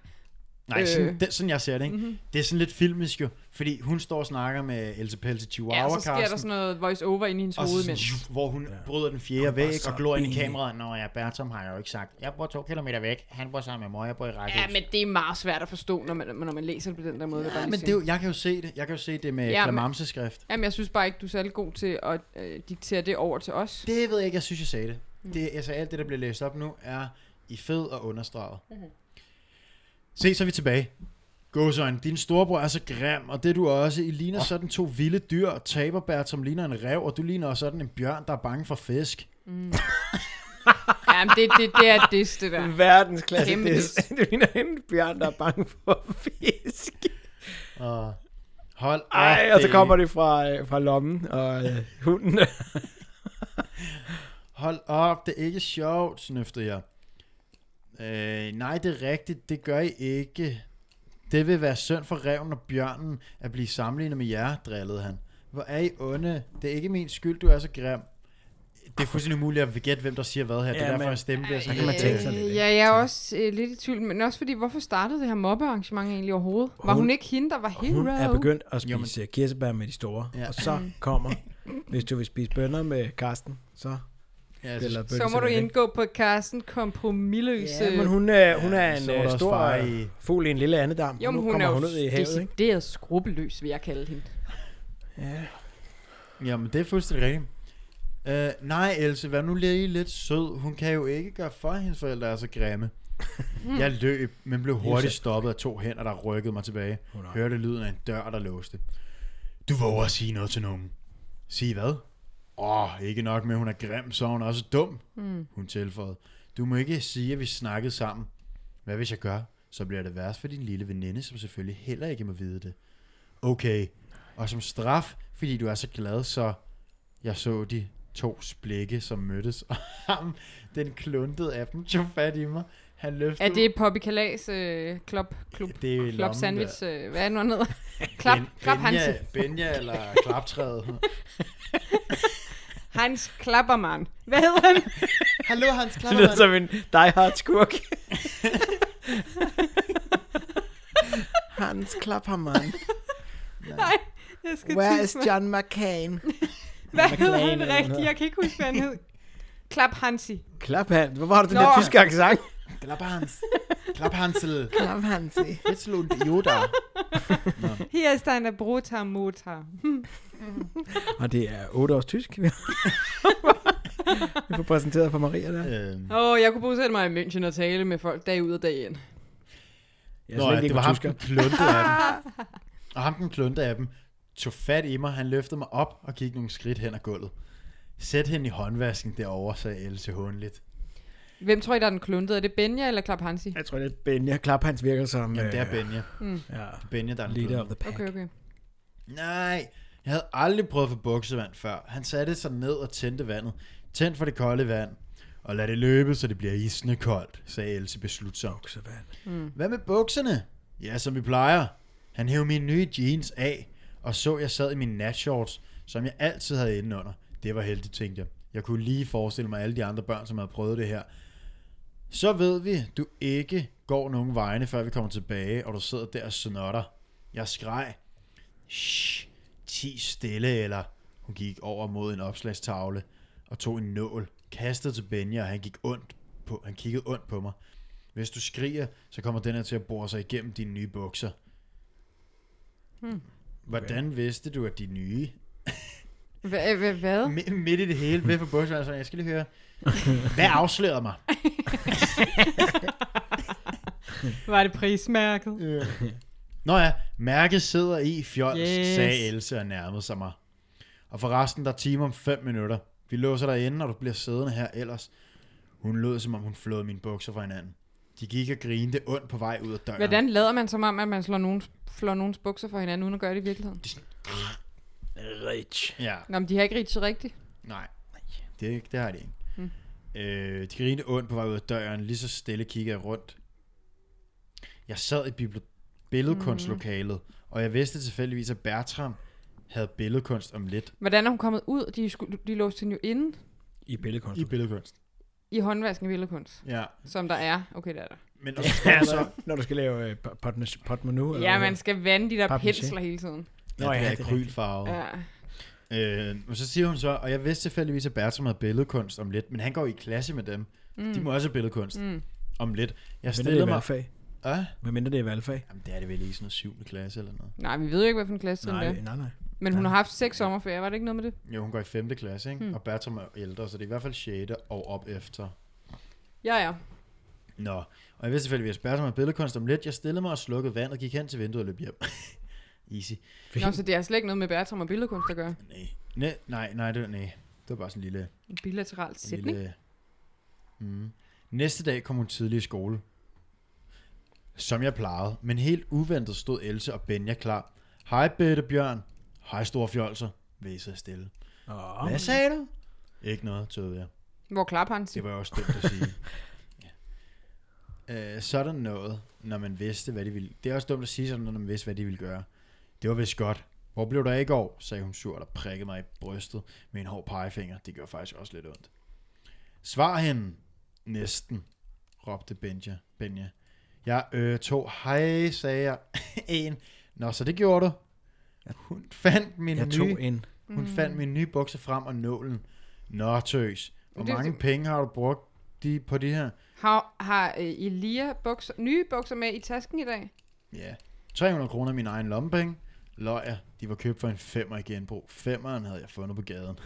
Nej,
Øh. Mhm.
sådan, det, sådan jeg ser det, ikke? Mm-hmm. Det er sådan lidt filmisk jo, fordi hun står og snakker med Else Pelse
Ja,
Chihuahua,
og så sker der sådan noget voice-over inde i hendes
Og så
hoved.
sådan,
Men...
shuf, hvor hun ja. bryder den
Hun
fjerde
var
væg
så
og glår ind i
pinlig.
kameraet. Nå ja, Bertram har jo ikke sagt, jeg bor to kilometer væk, han bor sammen med mor, jeg bor i række.
Ja, men det er meget svært at forstå, når man, når man læser det på den der måde. vil jeg bare
ja,
lige
men det
sige.
er jo, jeg kan jo se det. Jeg kan jo se det med
Ja,
ja,
men-
klamamseskrift.
Jamen, jeg synes bare ikke, du er særlig god til at øh, diktere det over til
[laughs]
os.
Det ved jeg ikke, jeg synes, jeg sagde det. det altså, alt det, der bliver læst op nu, er i fed og understreget.
Mhm.
Mm-hmm. Se, så er vi tilbage. Gåsøjne, din storebror er så grim, og det er du også. I ligner oh. sådan to vilde dyr, og taberbært, som ligner en rev, og du ligner også sådan en bjørn, der er bange for fisk.
Jamen, det, det, det er dis, det der.
Verdensklasse.
Kæmpe
[laughs] Det,
dis.
det ligner en bjørn, der er bange for fisk.
Og hold
Ej,
op,
og så
det-
kommer det fra, øh, fra lommen og øh, [laughs] hunden.
Hold op, det er ikke sjovt, snøfter jeg. Øh, nej, det er rigtigt, det gør I ikke. Det vil være synd for reven og bjørnen at blive sammenlignet med jer, drillede han. Hvor er I onde? Det er ikke min skyld, du er så grim. Det er fuldstændig umuligt at gætte, hvem der siger hvad her. Ja, det er
Ja,
derfor,
men-
at stemmen bliver så
kan man
lidt,
tænke
øh,
sig lidt, ikke?
Ja, jeg er også øh, lidt i tvivl, men også fordi, hvorfor startede det her mobbearrangement egentlig overhovedet? Var
Hun-
hun ikke hende, der var hero?
Hun er begyndt at
Jo, men-
spise øh, kirsebær med de store.
Ja.
Og så kommer, Altså, hvis du vil spise bønner med Karsten, så
Ja,
spiller
så,
bønser.
Så må du
lidt, ikke?
indgå på Carsten kompromilløs.
Ja,
øh,
men hun, øh, hun er
Ja,
en
så var der
øh,
også
stor
far
øh,
i-
fugl i en lille andedam.
jo,
nu
men hun
kommer
er jo
hun ud i havet, ikke?
decideret skrubbeløs, vil jeg kalde hende.
jamen, det er fuldstændig rigtigt. Øh, nej, Else, vær nu lige lidt sød. Hun kan jo ikke gøre for, at hendes forældre er så grimme. Jeg løb, men blev hurtigt stoppet af to hænder, der rykkede mig tilbage.
Åh, nej.
Hørte lyden af en dør, der låste. Du våger at sige noget til nogen. Sige hvad? Åh, ikke nok med, at hun er grim, så er hun også dum, mm. hun tilføjede. Du må ikke sige, at vi snakkede sammen. Hvad hvis jeg gør? Så bliver det værst for din lille veninde, som selvfølgelig heller ikke må vide det. Okay, og som straf, fordi du er så glad, så jeg så de to splikke, som mødtes, [laughs] og ham, den kluntede af dem, tog fat i mig. Han løftede...
Er det Poppy Kalas øh, klop, klub,
det er jo i
klop
lommen
sandwich?
der.
Øh, hvad er det nu, han hedder? klap, klap Hansen.
Benja, Benja
[laughs]
eller klaptræet.
Hans Klappermann. Hvad hedder han?
Hallo, Hans
Det lyder som en Die Hard
[laughs]
skurk. Hans Klappermann.
Jeg skal
Where
tisse
is
mig.
John McCain?
Hvad hedder
McLean
han
eller
rigtigt?
noget?
Jeg kan ikke huske, hvad han hed. Klap Hansi.
Klap Hans. Hvorfor har du den
Nå.
der tyske accent?
Klap Hans. Klap Hansel.
Klap Hansi.
Hetzel und Yoda.
Her er deine Brutter Mutter.
[laughs] Og det er 8 års tysk, vi vi får præsenteret for Maria der.
øhm,
Åh, oh, jeg kunne bosætte mig i München og tale med folk dag ud og dag ind.
Jeg
Nå,
slet
ja,
ikke
det var ham,
tysker.
den klunte af dem.
[laughs]
Og ham, den klunte af dem, tog fat i mig. Han løftede mig op og gik nogle skridt hen ad gulvet. Sæt hende i håndvasken derovre, sagde Else håndligt.
Hvem tror I, der er den kluntede? Er det Benja eller Klap Hansi?
Jeg tror, det er Benja. Klap Hans virker som...
Jamen, det er
øh,
Benja.
Ja,
Benja, der er den
leader
klunte.
of the pack.
Okay, okay.
Nej, jeg havde aldrig prøvet at få buksevand før. Han satte sig ned og tændte vandet. Tænd for det kolde vand, og lad det løbe, så det bliver isende koldt, sagde Else beslutsomt.
Buksevand.
Hvad med bukserne? Ja, som vi plejer. Han hævde mine nye jeans af, og så jeg sad i mine natshorts, som jeg altid havde inde under. Det var heldigt, tænkte jeg. Jeg kunne lige forestille mig alle de andre børn, som havde prøvet det her. Så ved vi, du ikke går nogen vegne, før vi kommer tilbage, og du sidder der og snotter. Jeg skreg. Shh, ti stille, eller... Hun gik over mod en opslagstavle og tog en nål, kastede til Benja, og han, gik ondt på, han kiggede ondt på mig. Hvis du skriger, så kommer den her til at bore sig igennem dine nye bukser. Hmm. Hvordan vidste du, at de nye...
Hva- hva- Hvad?
Mi- midt i det hele, ved for bussen, altså, jeg skal lige høre. [laughs] Hvad afslørede mig?
Var det prismærket?
Nå ja, mærket sidder i fjols, yes.
Yes.
sagde Else og nærmede sig mig. Og forresten, der er time om 5 minutter. Vi låser dig inde, og du bliver siddende her ellers. Hun lød, som om hun flåede mine bukser fra hinanden. De gik og grinte ondt på vej ud af døren.
Hvordan lader man som om, at man slår nogens, flår nogens bukser for hinanden, uden at gøre det i virkeligheden?
Rich.
Ja,
Nå, men de har ikke rigtigt rigtigt.
nej. Det, det har de ikke. Mm. Øh, de grinte ondt på vej ud af døren. Lige så stille kiggede jeg rundt. Jeg sad i bibli- billedkunstlokalet, mm. og jeg vidste tilfældigvis, at Bertram havde billedkunst om lidt.
Hvordan er hun kommet ud? De, er sku- de låste hende jo inde
I billedkunst.
I billedkunst.
i håndvasken i billedkunst,
Ja.
som der er. Okay, der er der.
[laughs] Men og så står der så...
når du skal lave øh, pot- pot- potmenu. eller
Ja,
hvad
man skal vande de der
Papier-maché.
pensler hele tiden.
Ja,
Nå
det
ja,
er
det er
akrylfarve. Ja.
Ja.
Øh, og så siger hun så, og jeg vidste tilfældigvis, at Bertram havde billedkunst om lidt, men han går i klasse med dem. Mm. De må også have billedkunst mm. om lidt. Jeg
Hvad mindre det
stillede
er
mig...
valgfag?
Ah?
Hvad mindre det er valgfag?
Jamen, det er det vel ikke sådan noget 7. klasse eller noget.
Nej, vi ved jo ikke, hvad for en klasse det
Nej,
er.
nej, nej.
Men hun har haft seks sommerferier, var det ikke noget med det?
Jo, hun går i 5. klasse, ikke? Mm. Og Bertram er ældre, så det er i hvert fald 6. og op efter.
Ja, ja.
Nå, og jeg vidste selvfølgelig, at Bertram havde billedkunst om lidt. Jeg stillede mig og slukkede vandet, gik hen til vinduet og løb hjem. [laughs] Easy.
Nå, så det har slet ikke noget med Bertram og billedkunst at gøre.
Nej. Nej, nej, nej, det var, nej. Det var bare sådan en lille...
En bilateral
En
sætning.
Mm. Næste dag kom hun tidlig i skole. Som jeg plejede, men helt uventet stod Else og Benja klar. Hej Bette Bjørn. Hej store fjolser. Væsede jeg stille.
Åh,
Hvad sagde du? Ikke noget, tøvede jeg.
Hvor klapper han
Det
sig?
var jeg også dømt at sige. [laughs] ja. øh, sådan noget, når man vidste, hvad de ville. Det er også dumt at sige sådan noget, når man vidste, hvad de ville gøre. Det var vist godt. Hvor blev der ikke over, sagde hun surt og prikkede mig i brystet med en hård pegefinger. Det gør faktisk også lidt ondt. Svar hende. Næsten, råbte Benja. Benja. Jeg øh, tog hej, sagde jeg. [laughs] en. Nå, så det gjorde du. Hun fandt min
jeg
nye...
tog en.
Hun
Mhm.
mm. fandt mine nye bukser frem og nålen. Nå, tøs. Hvor
Det er
mange
det-
penge har du brugt de, på de her?
Har, har øh, Elia bukser, nye bukser med i tasken i dag?
Ja, 300 kroner af min egen lommepenge. Løjer, de var købt for en femmer i genbrug. Femmeren havde jeg fundet på gaden.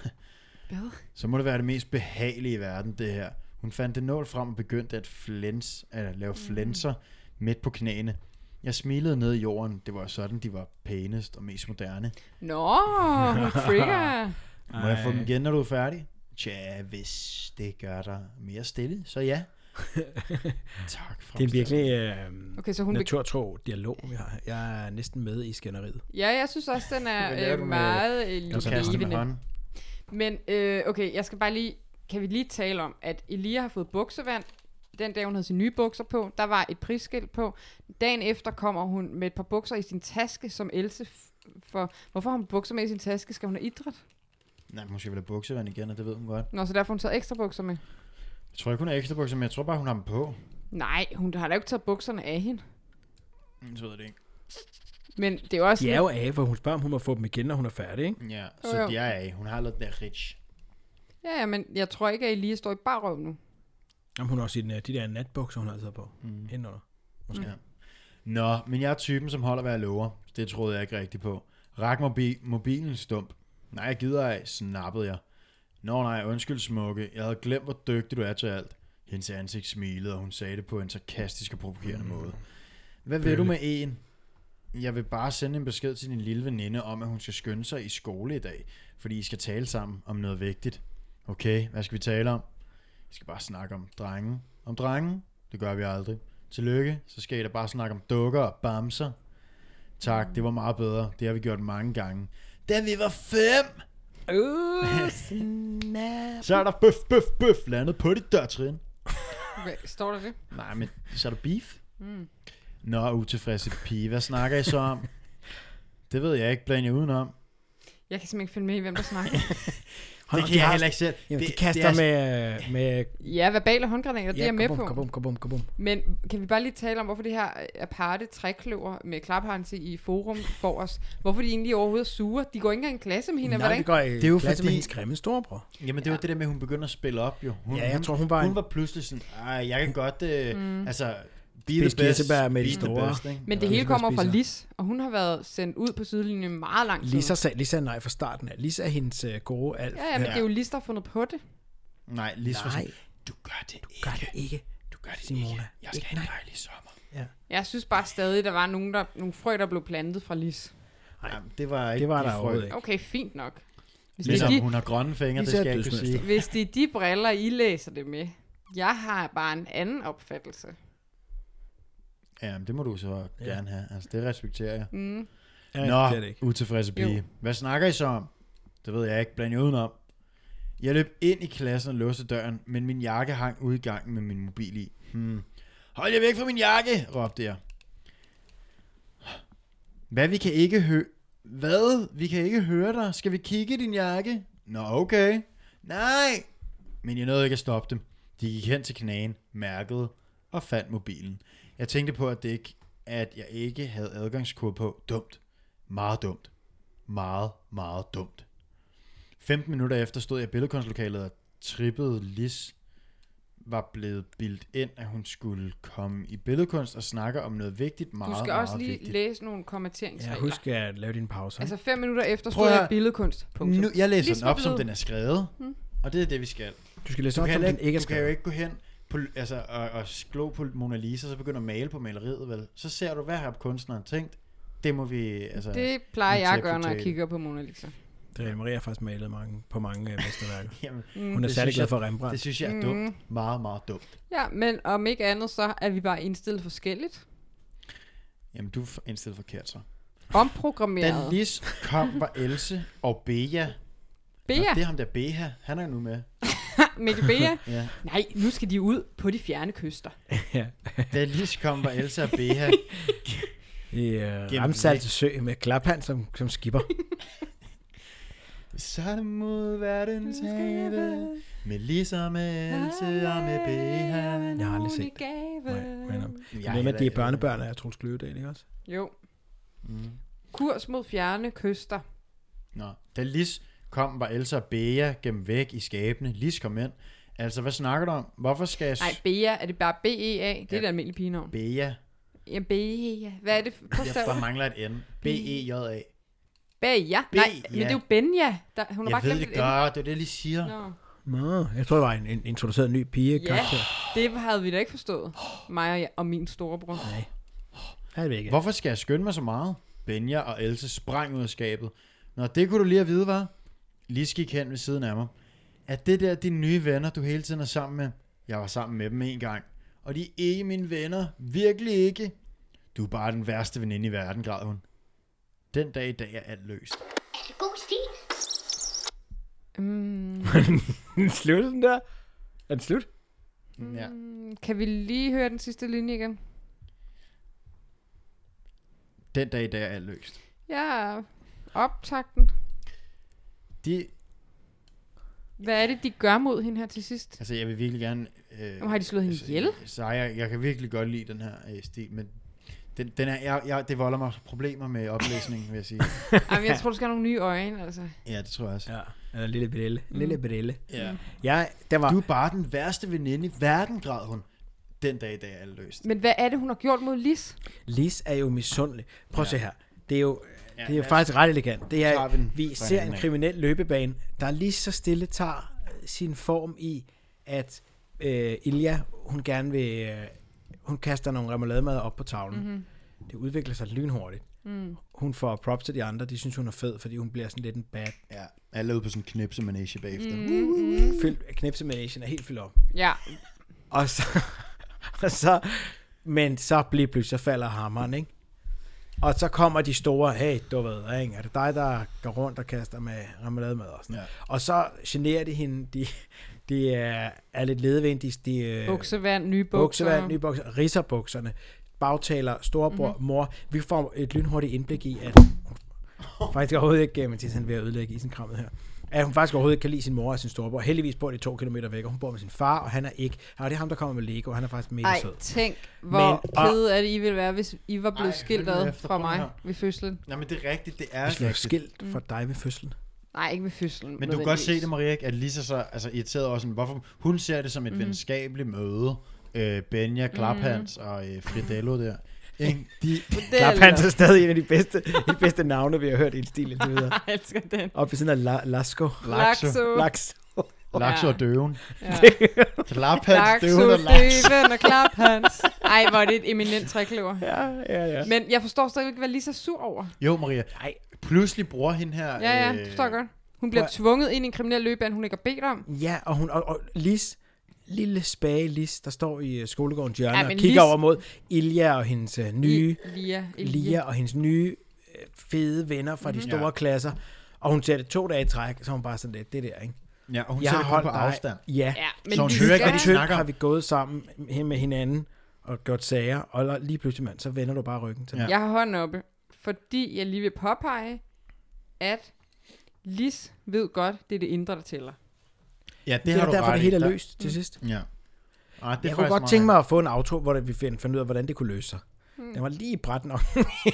Hvad?
[laughs] Så må det være det mest behagelige i verden, det her. Hun fandt en nål frem og begyndte at, flens, at lave
Mhm.
flænser midt på knæene. Jeg smilede ned i jorden. Det var sådan, de var pænest og mest moderne. [laughs]
Nå, trigger.
Må jeg få
Ej.
dem igen, når du er færdig? Tja, hvis det gør dig mere stille, så [laughs] ja. tak for
Det er virkelig øh,
Okay, så hun... Be-
naturtro dialog, vi har. Jeg er næsten med i skænderiet.
ja, jeg synes også, den
Hvad laver
er
du
øh,
med- Altså,
meget øh,
Du kaster med
levende.
hånden.
Men øh, okay, jeg skal bare lige... Kan vi lige tale om, at Elia har fået buksevand. Den dag, hun havde sine nye bukser på, der var et prisskilt på. Dagen efter kommer hun med et par bukser i sin taske, som Else f- for... Hvorfor har hun bukser med i sin taske? Skal hun have idræt?
Nej, måske vil have buksevand igen, og det ved hun godt.
Nå, så derfor har hun taget ekstra bukser med.
Jeg tror ikke, hun har ekstra bukser, men jeg tror bare, hun har dem på.
Nej, hun har da ikke taget bukserne af hende.
Mm, Så ved jeg det ikke.
Men det er jo også...
De er jo af, hvor hun spørger, om hun må få dem igen, når hun er færdig, ikke?
Ja,
Jo,
så
jo.
de er af. Hun har lavet den der rich.
lidt- Ja, ja, men jeg tror ikke, at Elia står i barrøv nu.
Jamen, hun har også sine, øh, de der natbukser, hun har altid på. Mm. Indenunder. Måske.
Mm.
Ja. Nå, men jeg er typen, som holder, hvad jeg lover. Det troede jeg ikke rigtigt på. Rak mobi- mobilen stump. Nej, jeg gider ej, snappede jeg. Nå nej, undskyld smukke. Jeg havde glemt, hvor dygtig du er til alt. Hendes ansigt smilede, og hun sagde det på en sarkastisk og provokerende måde. Hvad vil du med en? Jeg vil bare sende en besked til din lille veninde om, at hun skal skynde sig i skole i dag, fordi I skal tale sammen om noget vigtigt. Okay, hvad skal vi tale om? Vi skal bare snakke om drengen. Om drengen? Det gør vi aldrig. Tillykke, så skal I da bare snakke om dukker og bamser. Tak, det var meget bedre. Det har vi gjort mange gange. Da vi var fem,
Øh,
så er der bøf, bøf, bøf landet på dit dørtrin.
okay, står der det?
Nej, men så er der beef. Mm. Nå, utilfredse pige, hvad snakker I så om? det ved jeg ikke, bland jer udenom.
Jeg kan simpelthen ikke følge med i, hvem der [laughs] snakker.
Det kan jeg heller ikke selv.
Jamen,
det,
de kaster
det er,
med, øh, med...
ja, verbale håndgranater, ja, det er jeg med på.
Kabum, kabum, kabum.
Men kan vi bare lige tale om, hvorfor det her aparte trækløver med klaphanse i forum for os, hvorfor de egentlig overhovedet er sure? De går ikke engang i klasse med hinanden,
Nej,
hvordan?
det går
Det er jo
klasse med
fordi-
hendes grimme storebror.
Jamen det er jo det der med, at hun begynder at spille op jo. Hun,
Ja, jeg tror, hun var en-
Hun var pludselig sådan, ej, jeg kan godt, øh, mm. altså, be
Spise
the best,
kirsebær med de
be the
store."
best, ikke?
Men det
Ja,
hele
Lisa
kommer fra
spiser.
Lis, og hun har været sendt ud på sidelinjen meget lang tid.
Lisa, sag, Lisa er nej fra starten af. Lisa er hendes øh, gode alt.
Ja, ja, men det er jo Lis, der har fundet på det.
Nej, lige så
Nej,
sådan, du gør det ikke.
gør det ikke.
Du gør det
Simona.
ikke. Jeg skal
Ikke
have en
nej.
dejlig sommer.
Jeg synes bare stadig, der var nogen, der, nogle frø, der blev plantet fra Lis.
Nej.
Jamen, det var ikke
Det var
de
der
frø.
overhovedet ikke.
Okay, fint nok. Hvis det, er
Ligesom
de,
hun har grønne fingre, det
Især
skal jeg ikke kunne
dødsmønster.
sige.
hvis det er de briller, I læser det med. Jeg har bare en anden opfattelse.
Jamen, det må du så gerne have. Altså, det respekterer jeg.
Mm.
Ja, det er det
Nå,
ikke.
utilfredse pige.
Jo.
Hvad snakker I så om? Det ved jeg ikke. Bland jer udenom. Jeg løb ind i klassen og låste døren, men min jakke hang ude i gangen med min mobil i. Hmm. Hold jer væk fra min jakke, råbte jeg. Hvad vi kan ikke høre... Hvad? Vi kan ikke høre dig. Skal vi kigge i din jakke? Nå, okay. Nej! Men jeg nåede ikke at stoppe dem. De gik hen til knagen, mærkede og fandt mobilen. Jeg tænkte på, at, det ikke, at jeg ikke havde adgangskode på. Dumt. Meget dumt. Meget, meget dumt. 15 minutter efter stod jeg i billedkunstlokalet og trippede Lis var blevet bildt ind, at hun skulle komme i billedkunst og snakke om noget vigtigt, meget,
Du skal
meget
også lige
vigtigt.
læse nogle
Ja,
kommenteringsregler.
husk at lave dine pauser.
Altså fem minutter efter
Prøv
stod
at
jeg
høre.
billedkunst. Punktum.
Nu, jeg læser
Lige
den op, som
smidt ud.
den er skrevet,
Mm.
og det er det, vi skal.
du skal læse
Du
op,
kan,
som
heller
den
ikke,
ikke er
du kan jo
skrevet.
ikke gå hen på, altså, og, og slå på Mona Lisa, og så begynde at male på maleriet, vel? Så ser du, hvad har kunstneren tænkt? Det må vi, altså...
Det plejer
Nu
jeg at
tager
gøre,
jeg
når jeg
potato.
kigger på Mona Lisa.
Det Øh, Maria har faktisk malet mange, på mange øh, mesterværker.
Jamen,
Mm.
Hun er
Det
særlig
synes
glad
jeg-
for Rembrandt.
det synes jeg er dumt. Meget, meget dumt.
Ja, men om ikke andet, så er vi bare indstillet forskelligt.
Jamen, du er indstillet forkert, så. Da
Omprogrammeret.
Lis kom, var Else og Bea.
Bea,
Og det er ham der Bea. Han er jo nu med.
Mikkel Bea.
Ja.
Nej, nu skal de ud på de fjerne kyster.
ja.
Da Lis kom, var Else og Bea.
[laughs]
I øh,
Gennem
Ramsal
væk.
til sø med klaphand som, som skipper.
Så er det mod verdens have. Med Lis og med Else og med Bea.
Jeg har aldrig set det.
Gave.
Nej,
[laughs]
nej, nej.
Jeg
Hvem er
heller
de
ikke-
børnebørn af Troels Kløvedal, ikke også?
Jo. Kurs mod fjerne kyster.
Nå. Da Lis kom, var Elsa og Bea gennem væk i skabene. Lis kom ind. Altså, hvad snakker du om? Hvorfor skal jeg... s-
Nej, Bea, er det bare B-E-A? Det er ja. et almindeligt pigenavn.
Bea.
Ja, Bea. Hvad er det for
Jeg
bogstav?
bare mangler et N. E B-E-J-A.
Bea. Nej, men det er jo Benja. Der, hun
Jeg
har bare
ved
glemt
det
et N.
godt, det er det, jeg lige siger.
Nå.
Nå, jeg tror, det var en, en introduceret ny pige.
Ja, det havde vi da ikke forstået. Mig og, jeg, og min storebror.
Nej. Er det ikke?
Hvorfor skal jeg skynde mig så meget? Benja og Else sprang ud af skabet. Nå, det kunne du lige have vide, var. Lis gik hen ved siden af mig. Er det der dine nye venner, du hele tiden er sammen med? Jeg var sammen med dem en gang. Og de er ikke mine venner. Virkelig ikke. Du er bare den værste veninde i verden, græd hun. Den dag i dag er alt løst.
Er det god stil?
Mm,
[laughs] Slutter den der? Er den slut?
Ja.
kan vi lige høre den sidste linje igen?
Den dag i dag er alt løst.
Ja, optakten.
De,
Hvad er det, de gør mod hende her til
[laughs]
sidst?
altså jeg vil virkelig gerne... Øh,
Jamen, har de slået hende ihjel?
Så jeg, jeg kan virkelig godt lide den her øh, stil, men den, den er, jeg, jeg, det volder mig problemer med oplæsningen, vil jeg sige.
Jamen, jeg tror, du skal have nogle nye øjne, altså.
Ja, det tror jeg også.
Ja. Mm. Eller lille bedelle. Lille bedelle.
Ja.
Ja, der var...
Du er bare den værste veninde i verden, græd hun. Den dag i dag er alt løst.
Men hvad er det, hun har gjort mod Lis?
Lis er jo misundelig. Prøv at se her. Det er jo,
Ja,
det er jo
lad os-
faktisk ret elegant. Det er,
tager vi den
vi,
fra
ser en
hinanden af.
kriminel løbebane, der lige så stille tager øh, sin form i, at øh, Ilja, hun gerne vil... Øh, hun kaster nogle remoulade op på tavlen. Mm-hmm. Det udvikler sig lynhurtigt. Mm. Hun får props til de andre. De synes, hun er fed, fordi hun bliver sådan lidt en bad.
Ja, alle er ude på sådan en knipsemanage bagefter. Mm.
Mm. Fyldt, knipsemanagen er helt fyldt op.
Ja,
Og så, [laughs] og så, men så lige pludselig så falder hammeren, ikke? Og så kommer de store, hey, du ved, ikke? er det dig, der går rundt og kaster med remoulademad og sådan
Ja.
ja. Og så generer de hende, de, de er, er lidt ledvendige, de, de øh,
buksevand, nye bukser.
buksevand, nye bukser, riser bukserne, bagtaler storebror, mm-hmm. mor. Vi får et lynhurtigt indblik i, at hun faktisk overhovedet ikke, men til han er ved at ødelægge isenkrammet her, at hun faktisk overhovedet ikke kan lide sin mor og sin storebror. Heldigvis bor de to kilometer væk, og hun bor med sin far, og han er ikke. Og det er ham, der kommer med Lego, og han er faktisk mega
Ej,
sød.
tænk, hvor
Men- og-
kede at I ville være, hvis I var blevet
Ej,
skilt
hold nu
ad
efter,
fra
prøv
mig
her.
ved fødslen.
Nej, men det er rigtigt, det er
Hvis jeg er
rigtigt.
skilt fra dig ved fødslen.
Nej, ikke ved fødslen.
Men du kan godt se det, Maria, at Lisa så altså, irriteret også, sådan, hvorfor hun ser det som et mm. venskabeligt møde. Øh, Benja, Klaphans mm. og øh, Fridello der. Ikke? De,
Klap Hans er stadig en af de bedste, de bedste navne, vi har hørt i en stil indtil videre.
[laughs] Jeg elsker den.
Op ved siden af La- Lasko.
Laxo.
Laks.
Laxo og Døven.
Ja.
Klaphans,
Lakso,
Døven og Laxo.
døven og klap hans. Ej, hvor er det et eminent trækløver.
Ja, ja, ja.
Men jeg forstår stadig ikke, hvad Lisa er sur over.
Jo, Maria.
Nej.
Pludselig bruger hende her... øh,
Ja, ja, det forstår jeg godt. Hun bliver
prøv
tvunget ind i en kriminel løbebane, hun ikke har bedt om.
Ja, og, hun, og, og Lis, lille spage Lis, der står i øh, skolegårdens hjørne
Ja,
ja, og
men
kigger
Lis-
over mod Ilja og hendes øh, nye,
I, Lia, i
Lia og hendes nye øh, fede venner fra de
Mhm.
store
Ja.
klasser. Og hun ser det to dage i træk, så er hun bare sådan lidt, det der, ikke?
Ja, og hun
jeg
ser det kun på
dig-
afstand.
Ja,
Ja, men
Så hun
vi
hører ikke,
Hvor
hvad de
skal...
tyndt
snakker om.
har vi gået sammen her med hinanden og gjort sager, og lige pludselig, mand, så vender du bare ryggen til.
Ja.
Ja.
Jeg har hånden oppe, fordi jeg lige vil påpege, at Lis ved godt, det er det indre, der tæller.
Ja, det,
Det,
har
er
du
derfor,
ret
det
i.
hele er
Der-
løst til sidst.
Ja. Ah, det er
Jeg kunne
faktisk
godt
meget
tænke mig at få en auto, hvor vi finder, finder ud af, hvordan det kunne løse sig.
Hmm.
Mm. Den var lige bræt nok.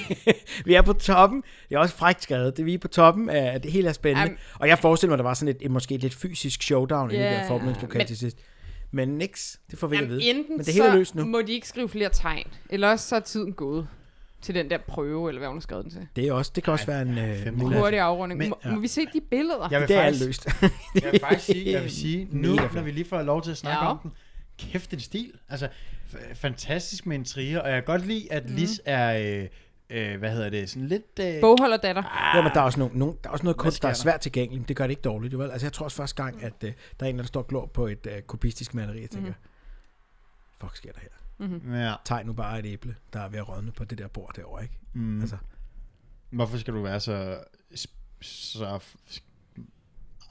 [laughs] vi er på toppen. Det er også frækt skrevet. Det, vi er på toppen af, at det hele er spændende.
Am-
og jeg forestiller mig, at der var sådan et, et måske et lidt fysisk showdown yeah. i det
Ja,
der formiddelslokale
men-
til sidst. Men niks, det får vi ikke at
Jamen,
vide.
enten
Men det hele er løst
så
nu.
må de ikke skrive flere tegn, eller også så er tiden gået til den der prøve, eller hvad hun har skrevet den til.
Det, er også, det kan også
Ej,
være en
ja,
øh,
femte
mulighed.
klasse.
Hurtig afrunding.
Men-
Men, må, ja. må vi se de billeder?
Jeg vil
Det er alt
faktisk,
[laughs] løst.
jeg vil faktisk sige, jeg vil sige nu,
Mega fedt.
når vi lige får lov til at snakke
Ja.
ja. om den, kæft en stil. Altså, f- fantastisk med intriger, og jeg kan godt lide,
Mhm.
at Lis er, øh, øh, hvad hedder det, sådan lidt... Øh,
Bogholderdatter.
Ja, men der er også, nogle, nogle, der er også noget kunst,
sker
der er
der?
svært tilgængeligt, men det gør det ikke dårligt. Jo vel? Altså, jeg tror også første gang, at øh, der er en, der står glor på et øh, kubistisk maleri,
Mhm.
og tænker, fuck sker der her?
ja.
Tag nu bare et æble, der er ved at rådne på det der bord derovre, ikke?
Mm.
Altså.
Altså. Hvorfor skal du være så... sp- så f-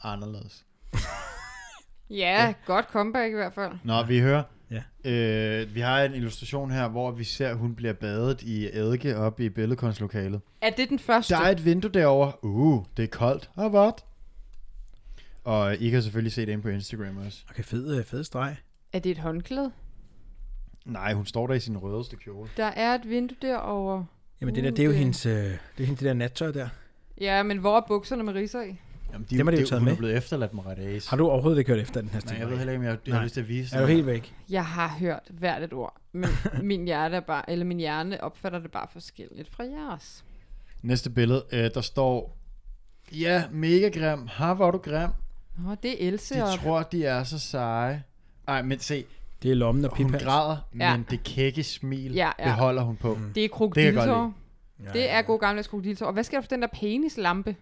anderledes?
Ja, godt comeback i hvert fald.
Nå, vi hører.
Ja.
Øh, vi har en illustration her, hvor vi ser, at hun bliver badet i eddike oppe i billedkunstlokalet.
Er det den første?
Der er et vindue derovre. Uh, det er koldt. Og vådt. Og I kan selvfølgelig se det inde på Instagram også.
Okay, fed, øh, fed streg.
Er det et håndklæde?
Nej, hun står der i sin rødeste kjole.
Der er et vindue derovre.
Jamen det der,
Uh,
det er jo
det-
hendes, øh, det er hendes det der nattøj der.
Ja, men hvor er bukserne med riser i?
Jamen,
Dem har de jo taget
hun
med.
er blevet efterladt med Red Ace.
Har du overhovedet ikke hørt efter den her stil?
Nej, jeg ved heller ikke, om jeg, jeg
Nej.
har lyst til at vise
Er du
det.
helt væk?
Jeg har hørt hvert et ord,
[laughs]
men min, hjerte er bare, eller min hjerne opfatter det bare forskelligt fra jeres.
Næste billede, øh, der står... Ja, mega grim. Har var du grim.
Nå, det er Else
De
og...
tror, de er så seje. Ej, men se,
Det er lommen og
hun
piphans.
græder,
Ja.
ja. men det kække smil
Ja,
ja,
ja.
ja. beholder hun på.
Mm.
Mm.
Det er
jeg godt
krokodiltår.
lide.
Ja,
Det er god gamle krokodiltår. Og hvad sker der for den der penislampe?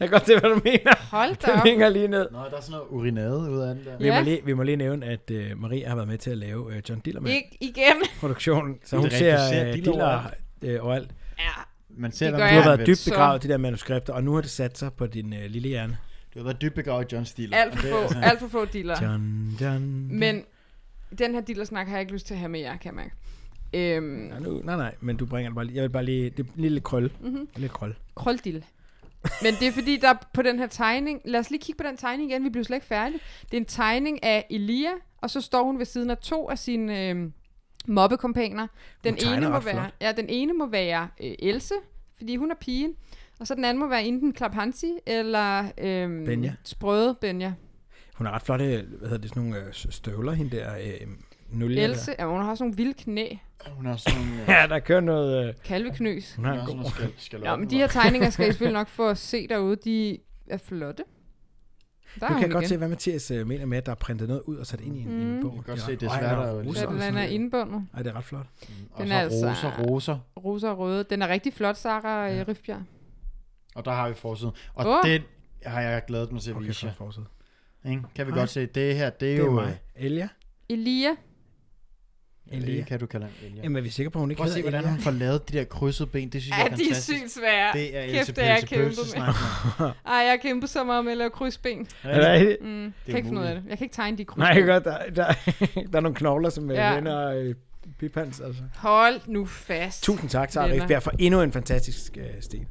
Jeg kan godt se, hvad du [laughs] mener.
[laughs]
Hold da
Den
op.
hænger lige ned.
Nå, der er sådan noget urinade ud af den der.
Vi,
Ja.
må lige, vi må lige nævne, at øh, Maria har været med til at lave øh, John Dillermand-produktionen.
[laughs] Ikke igen.
Så
Det er
hun
rigtigt,
ser,
du ser
øh,
diller
diller øh, overalt.
Ja,
Man ser,
Det
hvad
gør
man
Du
Ja,
har været
ved.
dybt
så-
begravet i de der manuskripter, og nu har det sat sig på din øh, lille hjerne.
Du har været dybt begravet i John Steele.
alt for få, alt for få dealer.
John, John.
Men den her dealersnak har jeg ikke lyst til at have med jer, kan jeg mærke. Øhm,
Nej, nu, nej, nej, men du bringer det bare lige. Jeg vil bare lige, det er en lille krølle.
Mhm.
Lille krølle.
krøldil. Men det er fordi, der på den her tegning... Lad os lige kigge på den tegning igen, vi blev slet ikke færdige. Det er en tegning af Elia, og så står hun ved siden af to af sine øh, mobbekompaner. Den
Hun tegner
ene, må
ret
være,
flot.
ja, den ene må være øh, Else, fordi hun er pigen. Og så den anden må være enten Klaphansi eller øh,
Benja.
Sprøde Benja.
Hun har ret flotte, øh, hvad hedder det, sådan nogle øh, støvler, hende der. Øh, nulje der.
Else, ja, hun har også nogle vilde knæ.
Hun har sådan nogle...
Ja, der kører noget... Øh,
Kalveknøs.
hun har
Hun har
en
sådan
god...
nogle skal, skal
Ja, men de her tegninger skal I selvfølgelig nok få at se derude. De er flotte. Der er
Nu kan jeg
hun
godt se,
igen.
hvad Mathias øh, mener med, at der er printet noget ud og sat ind i en, mm. en
Mhm.
bog.
Jeg kan godt
er
se,
ret-
det er
Ej,
svært
der
at-
russer
Hvad
og sådan
den er
noget.
indbundet.
Ej, det er ret flot.
Og
Den
så
er altså-
roser, roser.
Rosa og røde. Den er rigtig flot, Sara ja. Rifbjerg.
Og der har vi forsiden. Og
Åh.
oh. den har jeg glædet mig til at
Okay,
vise
så
jer.
forsøg.
Ikke? Kan vi
Hej.
godt se, det her, det er
Det er
jo...
mig. Elia?
Elia.
Elia.
Elia. Kan du kalde ham Elia?
Jamen, er vi sikre på, at hun ikke
Prøv at se, hvordan hun får lavet de der krydsede ben. Det synes jeg
Ja,
er
de er
fantastisk.
sygt svære.
Det er
Kæft,
Else
det er
Pølse
kæmpet
Pølse
med.
snak.
[laughs]
Ej, jeg har kæmpet så meget med at lave krydsben.
Er der,
Mm, kan ikke
umuligt.
finde ud af det. Jeg kan ikke tegne de krydsben.
[laughs] nej, godt, der, der, der er nogle knogler, som
Ja.
ja. vender øh, Bipans, altså.
Hold nu fast.
Tusind tak, Sara
Venner.
Rifbjerg, for endnu en fantastisk øh, stil.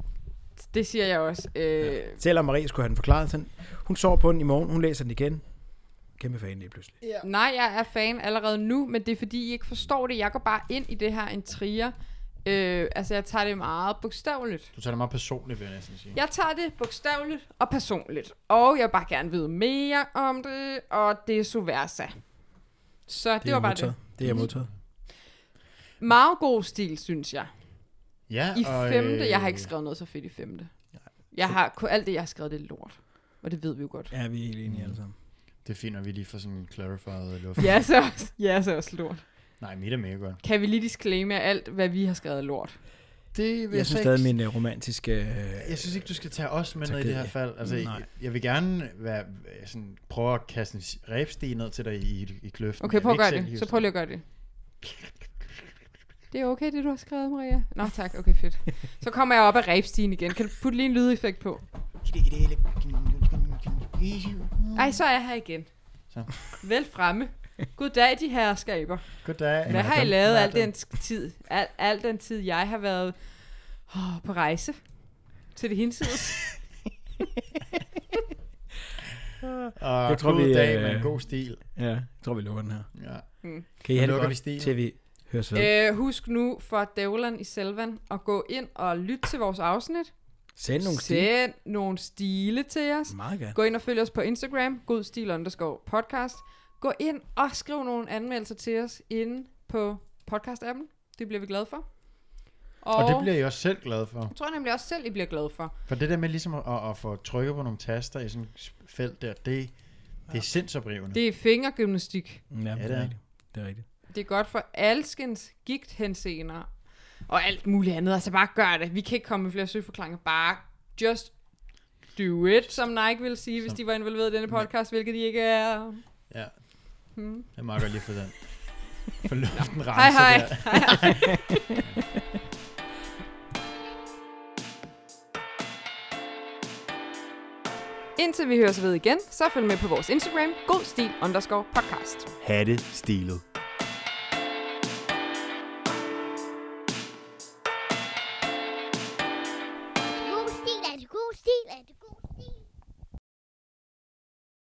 Det siger jeg også. Øh,
Selvom Marie skulle have den forklaret, sådan, hun sover på den i morgen, hun læser den igen. Kæmpe fan lige pludselig.
ja. Nej, jeg er fan allerede nu, men det er fordi, I ikke forstår det. Jeg går bare ind i det her intriger. Øh, altså, jeg tager det meget bogstaveligt.
Du tager det meget personligt, vil jeg næsten sige.
Jeg tager det bogstaveligt og personligt. Og jeg vil bare gerne vide mere om det, og det er så versa. Så det, det var bare
modtaget.
det.
det. Det er modtaget.
Meget god stil, synes jeg.
Ja,
I
og,
femte,
øh,
jeg har ikke skrevet noget så fedt i femte. Jeg har, kun- alt det, jeg har skrevet, det er lort. Og det ved vi jo godt.
Ja, vi er helt enige alle sammen.
Det er fint, når vi lige får sådan clarified luft.
Ja, så også, ja, så også lort.
Nej, mit er mega godt.
Kan vi lige disclaime at alt, hvad vi har skrevet er lort?
Det vil
Jeg synes stadig, min øh, romantiske... Øh,
Jeg synes ikke, du skal tage os med
Tak,
ned i det her
ja.
fald. Altså,
Nej.
jeg, jeg vil gerne være, øh, sådan, prøve at kaste en ræbstige ned til dig i, i kløften.
Okay,
Jeg
prøv
vil
at
ikke
gøre
selv
det.
hive
Så
sådan-
prøv lige at gøre det. Det er okay, det du har skrevet, Maria. Nå tak, okay fedt. Så kommer jeg op af ræbstigen igen. Kan du putte lige en lydeffekt på? Ej, så er jeg her igen.
Så.
Vel fremme. Goddag, de herskaber.
Goddag.
Hvad har
Madam.
I lavet al
Madam.
den sk- tid, al, al den tid, jeg har været oh, på rejse til det hinsides?
Og
Jeg tror,
god
vi,
dag
øh,
med en god stil.
ja, jeg tror, vi lukker den her.
Ja.
Kan I have det
lukker vi
godt,
stilen.
til vi høres ved.
øh, husk nu for dævlen i selvan at gå ind og lytte til vores afsnit.
Send nogle stil.
Send nogle stile til os.
Meget gerne.
Gå ind og følg os på Instagram, godstil underscore podcast. Gå ind og skriv nogle anmeldelser til os inde på podcast-appen. Det bliver vi glade for. Og,
Og det bliver jeg også selv glad for.
jeg tror jeg nemlig også selv, I bliver glade for.
For det der med ligesom at, at få trykket på nogle taster i sådan et felt der, det, det er sindsoprivende.
Det er fingergymnastik.
Ja,
det
det
er.
er rigtigt. Det er rigtigt.
Det er godt for alskens gigthensener og alt muligt andet. Altså bare gør det. Vi kan ikke komme med flere søforklaringer. Bare just do it, som Nike ville sige, hvis
Som-
de var involveret i denne podcast, hvilket de ikke er.
Ja. Jeg må godt lige få
[laughs]
den. For luften renser
Hmm. Hej hej.
der.
hej, hej. Indtil vi høres ved igen, så følg med på vores Instagram, godstil underscore podcast.
Hatte stilet.